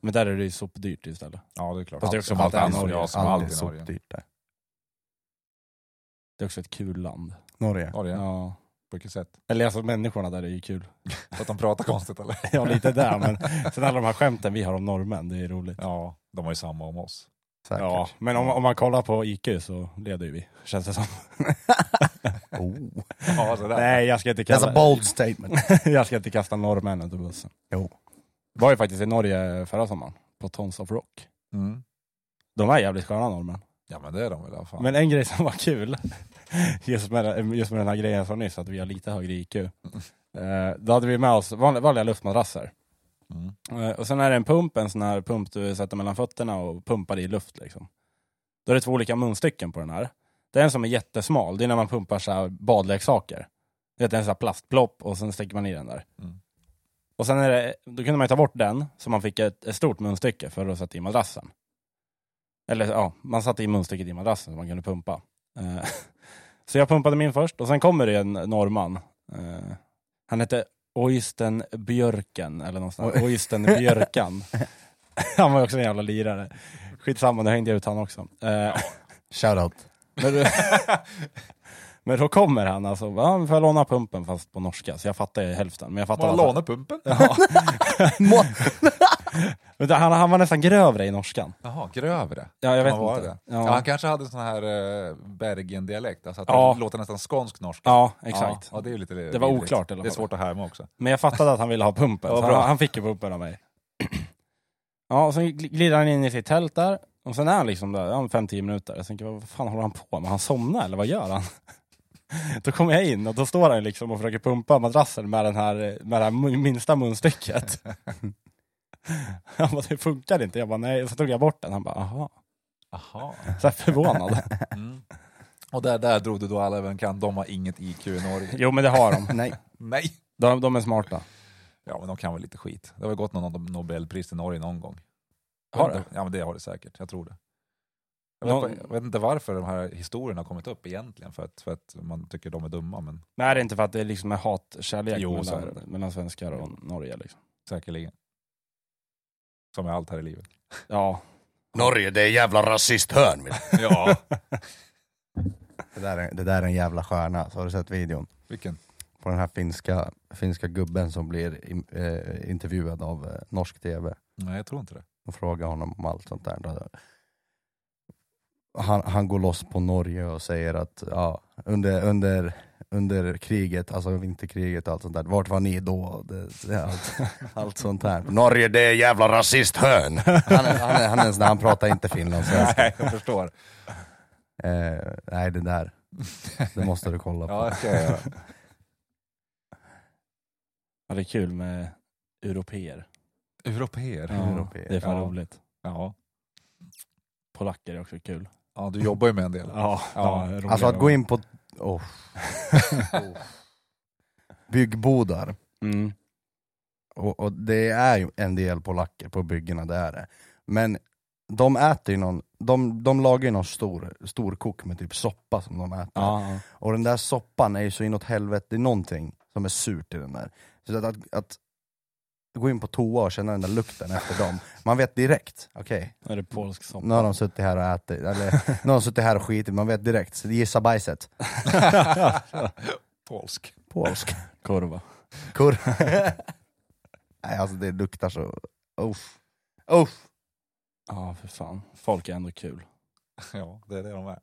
Speaker 2: Men där är det ju sopdyrt istället.
Speaker 3: Ja, det är klart.
Speaker 2: Fast det är också
Speaker 3: Allt-
Speaker 2: bara att
Speaker 3: allt
Speaker 2: det är
Speaker 3: annat
Speaker 2: Norge.
Speaker 3: jag som
Speaker 1: Allt är
Speaker 3: alltid i Norge.
Speaker 1: sopdyrt där.
Speaker 2: Det är också ett kul land.
Speaker 1: Norge.
Speaker 3: Norge, ja.
Speaker 2: Ja.
Speaker 3: på vilket sätt?
Speaker 2: Eller alltså människorna där är ju kul.
Speaker 3: För att de pratar konstigt eller?
Speaker 2: Ja, lite där. Men sen alla de här skämten vi har om norrmän, det är roligt.
Speaker 3: Ja, de har ju samma om oss.
Speaker 1: Säkert.
Speaker 2: Ja, men om, om man kollar på IQ så leder ju vi, känns det som.
Speaker 1: Oh.
Speaker 3: Ja, sådär.
Speaker 2: Nej, jag ska inte
Speaker 1: That's
Speaker 2: kalla
Speaker 1: a bold statement.
Speaker 2: jag ska inte kasta norrmännen under bussen.
Speaker 1: Jo.
Speaker 2: Var ju faktiskt i Norge förra sommaren, på Tons of Rock.
Speaker 3: Mm.
Speaker 2: De är jävligt sköna norrmän.
Speaker 3: Ja, men det är de väl i alla fall.
Speaker 2: Men en grej som var kul, just med, just med den här grejen som nyss, att vi har lite högre IQ. Eh, Då hade vi med oss vanliga, vanliga luftmadrasser.
Speaker 3: Mm.
Speaker 2: Eh, Och sen är det en pump, en sån här pump du sätter mellan fötterna och pumpar i luft. Liksom. Då är det två olika munstycken på den här. Det är en som är jättesmal, det är när man pumpar så här badleksaker. Det är en sån här plastplopp och sen sticker man i den där.
Speaker 3: Mm.
Speaker 2: Och sen är det, då kunde man ju ta bort den, så man fick ett, ett stort munstycke för att sätta i madrassen. Eller ja, man satte i munstycket i madrassen så man kunde pumpa. Eh, Så jag pumpade min först och sen kommer det en norrman. Eh, Han hette Oysten Björken eller någonstans.
Speaker 1: Oj.
Speaker 2: Oysten Björkan. Han var ju också en jävla lirare. Skitsamma, nu hängde jag ut han också. Eh,
Speaker 1: Shoutout.
Speaker 2: men, då- men då kommer han alltså, ja, får jag låna pumpen fast på norska? Så jag fattar ju hälften. Men jag fattar
Speaker 3: Man
Speaker 2: vad han-
Speaker 3: lånar pumpen.
Speaker 2: Men han, han var nästan grövre i norskan.
Speaker 3: Jaha, grövre.
Speaker 2: Ja, jag vet
Speaker 3: Vad var
Speaker 2: inte.
Speaker 3: det? Ja.
Speaker 2: Ja.
Speaker 3: han kanske hade sån här eh, Bergen-dialekt, alltså att
Speaker 2: Ja.
Speaker 3: det låter nästan skånsk norska.
Speaker 2: ja, exakt.
Speaker 3: Ja, ja, det, är ju lite
Speaker 2: Det var
Speaker 3: vidrigt.
Speaker 2: oklart i alla
Speaker 3: Det är
Speaker 2: fall.
Speaker 3: svårt att härma också.
Speaker 2: Men jag fattade att han ville ha pumpen,
Speaker 3: Ja,
Speaker 2: så
Speaker 3: bra.
Speaker 2: han, han fick ju pumpen av mig. Ja, och sen gl- glider han in i sitt tält där, och sen är han liksom där, ja, 5-10 minuter. Jag tänker, vad fan håller han på med? Han somnar eller vad gör han? Då kommer jag in och då står han liksom och försöker pumpa madrassen med, den här, med det här mu- minsta munstycket. Han bara, det funkar inte. Jag bara, nej. Så tog jag bort den. Han bara, aha.
Speaker 3: Aha.
Speaker 2: Så här förvånad.
Speaker 3: Mm. Och där, där drog du då alla över en kan, de har inget IQ i Norge.
Speaker 2: Jo, men det har de.
Speaker 1: Nej.
Speaker 3: Nej!
Speaker 2: De, de är smarta.
Speaker 3: Ja, men de kan väl lite skit. Det har väl gått någon Nobelpris till Norge någon gång.
Speaker 2: Har
Speaker 3: det?
Speaker 2: det?
Speaker 3: Ja, men det har det säkert. Jag tror det. Jag vet,
Speaker 2: Någon-
Speaker 3: jag vet inte varför de här historierna har kommit upp egentligen, för att, för att man tycker de är dumma, men
Speaker 2: Nej, det är inte för att det liksom är hatkärlek
Speaker 3: Jo, så är
Speaker 2: mellan,
Speaker 3: det.
Speaker 2: mellan svenskar och Norge. Liksom.
Speaker 3: säkerligen. Som är allt här i livet.
Speaker 2: Ja,
Speaker 4: Norge, det är jävla rasisthörn. vet du.
Speaker 3: Ja.
Speaker 1: Det där, är, det där är en jävla stjärna, så har du sett videon?
Speaker 3: Vilken?
Speaker 1: På den här finska, finska gubben som blir in, eh, intervjuad av eh, norsk tv.
Speaker 3: Nej, jag tror inte det.
Speaker 1: och frågar honom om allt sånt där. Då- Han, han går loss på Norge och säger att ja, under, under, under kriget, alltså vinterkriget och allt sånt där, vart var ni då? Det, det, allt, allt sånt där.
Speaker 4: Norge, det är jävla rasisthörn.
Speaker 1: Han, är- han, är- han, är en sån där, han pratar inte finlandssvenska.
Speaker 3: Nej, jag förstår.
Speaker 1: Eh, nej det där, det måste du kolla på.
Speaker 3: Ja, det ska jag göra.
Speaker 2: Ja, det är kul med Europeer.
Speaker 3: Europeer.
Speaker 2: Ja,
Speaker 1: Europeer.
Speaker 2: Det är fan
Speaker 3: Ja.
Speaker 2: roligt.
Speaker 3: Ja.
Speaker 2: Polacker är också kul.
Speaker 3: ja, du jobbar ju med en del.
Speaker 2: Ja,
Speaker 3: Ja.
Speaker 2: ja.
Speaker 1: Alltså att gå in på oh. byggbodar,
Speaker 2: Mm.
Speaker 1: och, och det är ju en del polacker på byggena, det är det. Men de äter ju någon, de, de lagar ju någon stor, stor kok med typ soppa som de äter.
Speaker 2: Ja, ja.
Speaker 1: Och den där soppan är ju så inåt helvete, det är någonting som är surt i den där. Så att, att, att gå in på toa och känna den där lukten efter dem, man vet direkt, okej,
Speaker 2: Är det polsk soppa?
Speaker 1: nu har de suttit här och ätit, eller nu har de suttit här och skitit, man vet direkt. Så gissa bajset.
Speaker 3: Polsk.
Speaker 1: Polsk.
Speaker 2: Korva.
Speaker 1: Kurr. Nej alltså det luktar så, uff. Uff.
Speaker 2: Ja, för fan. Folk är ändå kul.
Speaker 3: Ja, det är det de är.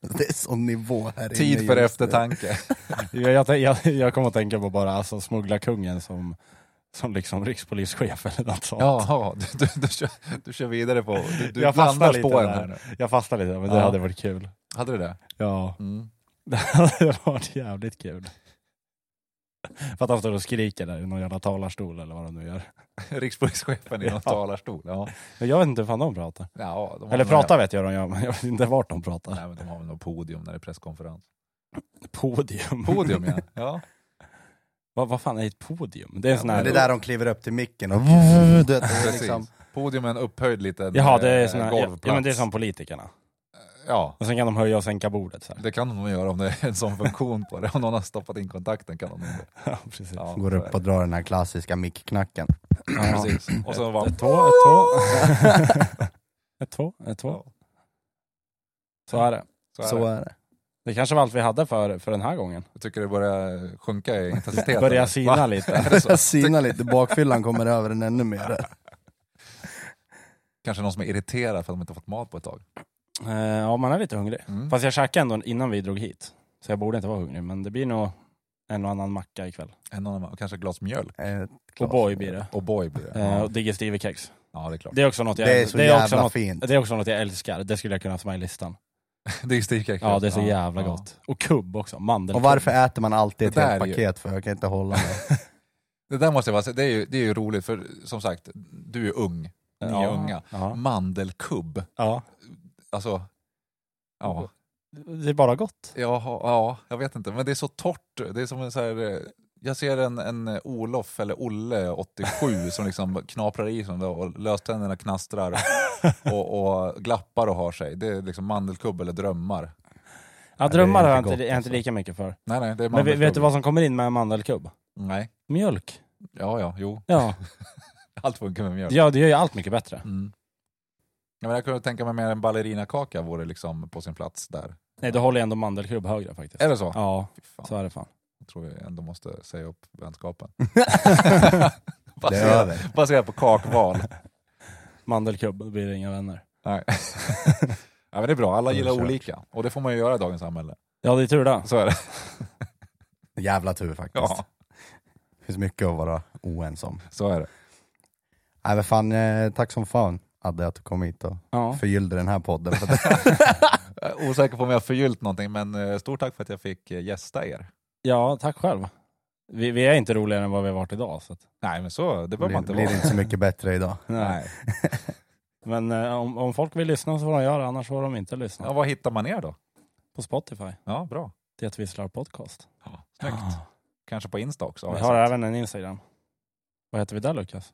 Speaker 1: Det är sån nivå här inne
Speaker 3: Tid för
Speaker 1: just nu.
Speaker 3: eftertanke.
Speaker 2: Jag, jag, tän- jag, jag kommer att tänka på bara alltså, smugglarkungen som, som liksom rikspolischef eller något sånt.
Speaker 3: Jaha, du, du, du, kör, du kör vidare på... Du, du
Speaker 2: Jag
Speaker 3: blandar
Speaker 2: fastnar lite
Speaker 3: spåren
Speaker 2: där.
Speaker 3: här nu.
Speaker 2: Jag fastnade lite, men det
Speaker 3: Ja.
Speaker 2: hade varit kul.
Speaker 3: Hade du det?
Speaker 2: Ja,
Speaker 3: Mm.
Speaker 2: det hade varit jävligt kul. För att han står och skriker där i någon jävla talarstol eller vad de nu gör.
Speaker 3: Rikspolischefen i någon
Speaker 2: Ja.
Speaker 3: talarstol. Ja.
Speaker 2: Men jag vet inte hur fan de pratar.
Speaker 3: Ja, de har
Speaker 2: Eller
Speaker 3: väl-
Speaker 2: pratar vet jag de gör, men jag vet inte vart de pratar.
Speaker 3: Nej, men de har väl något podium när det är presskonferens.
Speaker 2: Podium.
Speaker 3: Podium ja. ja.
Speaker 2: Vad, vad fan är ett podium? Det är en sån
Speaker 1: Men
Speaker 2: här...
Speaker 1: Det är där de kliver upp till micken och du vet, det är
Speaker 3: Precis.
Speaker 1: liksom,
Speaker 3: Podium är en upphöjd liten
Speaker 2: Jaha, det är
Speaker 3: eh,
Speaker 2: sån här... Ja,
Speaker 3: golvplats.
Speaker 2: ja, men det är som politikerna.
Speaker 3: Ja,
Speaker 2: Och sen kan de höja och sänka bordet så här.
Speaker 3: det kan de nog göra om det är en sån funktion på det. Om någon har stoppat in kontakten kan de nog...
Speaker 2: Ja, precis.
Speaker 3: Ja,
Speaker 1: går upp och drar den här klassiska mickknacken.
Speaker 3: Ja, precis. Och så var
Speaker 2: Ett två, ett två. ett två, ett två. Så är det.
Speaker 3: så,
Speaker 1: Så
Speaker 3: är det.
Speaker 1: är det.
Speaker 2: Det kanske var allt vi hade för, för den här gången.
Speaker 3: Jag tycker det börjar sjunka i intensitet.
Speaker 2: Börjar
Speaker 3: eller?
Speaker 2: sina
Speaker 3: Va?
Speaker 2: lite.
Speaker 3: Är det så?
Speaker 1: Jag synar lite, bakfyllan kommer över den ännu mer.
Speaker 3: Kanske någon som är irriterad för att de inte fått mat på ett tag.
Speaker 2: Eh, ja, man är lite hungrig.
Speaker 3: Mm.
Speaker 2: Fast jag käkade ändå innan vi drog hit. Så jag borde inte vara hungrig, men det blir nog en och annan macka ikväll.
Speaker 3: En annan, och kanske ett glas mjölk.
Speaker 1: Eh,
Speaker 2: Och boy blir det.
Speaker 3: Och boy blir det.
Speaker 2: Eh,
Speaker 3: Ja,
Speaker 2: och digestivekex.
Speaker 3: ja det är klart.
Speaker 2: Det är också något jag,
Speaker 1: Det är så
Speaker 2: också
Speaker 1: jävla
Speaker 2: något,
Speaker 1: fint.
Speaker 2: det är också något jag älskar. Det skulle jag kunna ha med i listan.
Speaker 3: Det är stekkex.
Speaker 2: Ja, det är så jävla gott. Och kubb också. Mandelkubb.
Speaker 1: Och varför äter man alltid ett
Speaker 3: Det där
Speaker 1: helt
Speaker 3: är ju-
Speaker 1: paket för? Jag kan inte hålla mig.
Speaker 3: Det där måste jag bara säga, det är ju, det är ju roligt för som sagt, du är ung. Ni är
Speaker 2: ja.
Speaker 3: unga. Mm.
Speaker 2: Ja.
Speaker 3: Mandelkubb.
Speaker 2: ja.
Speaker 3: Alltså, ja.
Speaker 2: Det är bara gott.
Speaker 3: Jaha, ja, jag vet inte. Men det är så torrt. Det är som en så här, eh, jag ser en, en Olof eller Olle, 87, som liksom knaprar i sig dem och löständerna knastrar och, och glappar och har sig. Det är liksom mandelkubb eller drömmar.
Speaker 1: det
Speaker 2: Ja,
Speaker 1: är
Speaker 2: drömmar har jag
Speaker 1: inte
Speaker 2: inte,
Speaker 1: gott,
Speaker 2: är jag
Speaker 1: alltså.
Speaker 2: inte lika mycket för.
Speaker 3: Nej, nej, det är
Speaker 2: Men
Speaker 3: mandelkubb.
Speaker 2: vet vet du vad som kommer in med en mandelkubb?
Speaker 3: Nej.
Speaker 2: Mjölk.
Speaker 3: Ja, ja, jo.
Speaker 2: Ja.
Speaker 3: Allt funkar med mjölk.
Speaker 2: ja, det gör ju allt mycket bättre.
Speaker 3: Mm. Ja, men jag kunde tänka mig mer en ballerinakaka vore liksom på sin plats där.
Speaker 2: Nej, då håller jag ändå mandelkubb högre faktiskt.
Speaker 3: Är det så?
Speaker 2: Ja,
Speaker 3: Fy fan.
Speaker 2: så är det fan.
Speaker 3: Jag tror jag ändå måste säga upp vänskapen.
Speaker 1: Det är
Speaker 3: baserat,
Speaker 1: över.
Speaker 3: baserat på kakval.
Speaker 2: Mandelkubb, då blir det inga vänner.
Speaker 3: Nej. ja, men det är bra, alla gillar
Speaker 1: Undersök.
Speaker 3: olika. Och det får man ju göra i dagens samhälle.
Speaker 2: Ja, det är tur det.
Speaker 3: Så är det.
Speaker 1: Jävla tur faktiskt.
Speaker 3: Ja,
Speaker 1: Det finns mycket att vara oense om.
Speaker 3: så är det.
Speaker 1: Nej men fan, eh, tack som fan Adde att du kom hit och
Speaker 2: Ja.
Speaker 1: förgyllde den här podden. För att-
Speaker 3: Jag är osäker på om jag har förgyllt någonting, men eh, stort tack för att jag fick eh, gästa er.
Speaker 2: ja, tack själv. Vi, vi är inte roligare än vad vi har varit idag. Så att,
Speaker 3: Nej, men så, det
Speaker 1: det
Speaker 3: behöver man
Speaker 1: blir,
Speaker 3: inte
Speaker 1: blir
Speaker 3: vara.
Speaker 1: inte så mycket bättre idag.
Speaker 3: Nej.
Speaker 2: Men eh, om, om folk vill lyssna så får de göra annars får de inte lyssna.
Speaker 3: Ja, var hittar man er då?
Speaker 2: På Spotify,
Speaker 3: Ja, bra.
Speaker 2: Det Visslar Podcast.
Speaker 3: Ah, Ja, snyggt. Kanske på Insta också. har
Speaker 2: Vi
Speaker 3: jag
Speaker 2: har
Speaker 3: sett.
Speaker 2: även en Instagram. Vad heter vi där Lukas?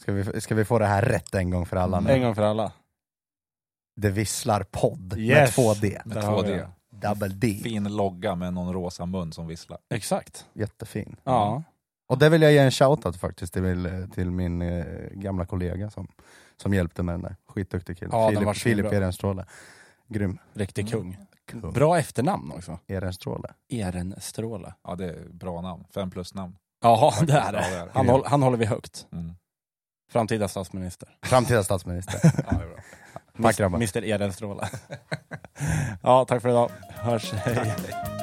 Speaker 1: Ska vi, ska vi få det här rätt en gång för alla nu?
Speaker 2: En gång för alla.
Speaker 1: Det visslar podd
Speaker 2: Yes.
Speaker 1: med 2D.
Speaker 3: Med
Speaker 2: Där har vi
Speaker 3: 2D.
Speaker 2: den.
Speaker 1: Double D.
Speaker 3: Fin logga med någon rosa mun som visslar.
Speaker 2: Exakt.
Speaker 3: Mm.
Speaker 1: Jättefin.
Speaker 2: Ja.
Speaker 1: Och det vill jag ge en shoutout faktiskt till, till min eh, gamla kollega som, som hjälpte med den där. Skitduktig kille.
Speaker 2: Ja, den var
Speaker 1: Filip,
Speaker 2: så
Speaker 1: Filip
Speaker 2: bra.
Speaker 1: Ehrenstråle. Grym.
Speaker 2: Riktig
Speaker 3: Mm.
Speaker 2: kung.
Speaker 1: Kung.
Speaker 2: Bra efternamn också.
Speaker 1: Ehrenstråle.
Speaker 2: Ehrenstråle.
Speaker 3: Ja, det är bra namn. Fem plus namn.
Speaker 2: Ja,
Speaker 3: Faktiskt.
Speaker 2: det är
Speaker 3: Ja,
Speaker 2: det.
Speaker 3: är
Speaker 2: Han, håll, han håller vi högt.
Speaker 3: Mm.
Speaker 2: Framtida statsminister.
Speaker 1: Framtida statsminister.
Speaker 3: Ja, det är bra.
Speaker 1: Tack grabbar.
Speaker 2: Mr Ehrenstråle. ja, tack för idag. Hörs. Hej.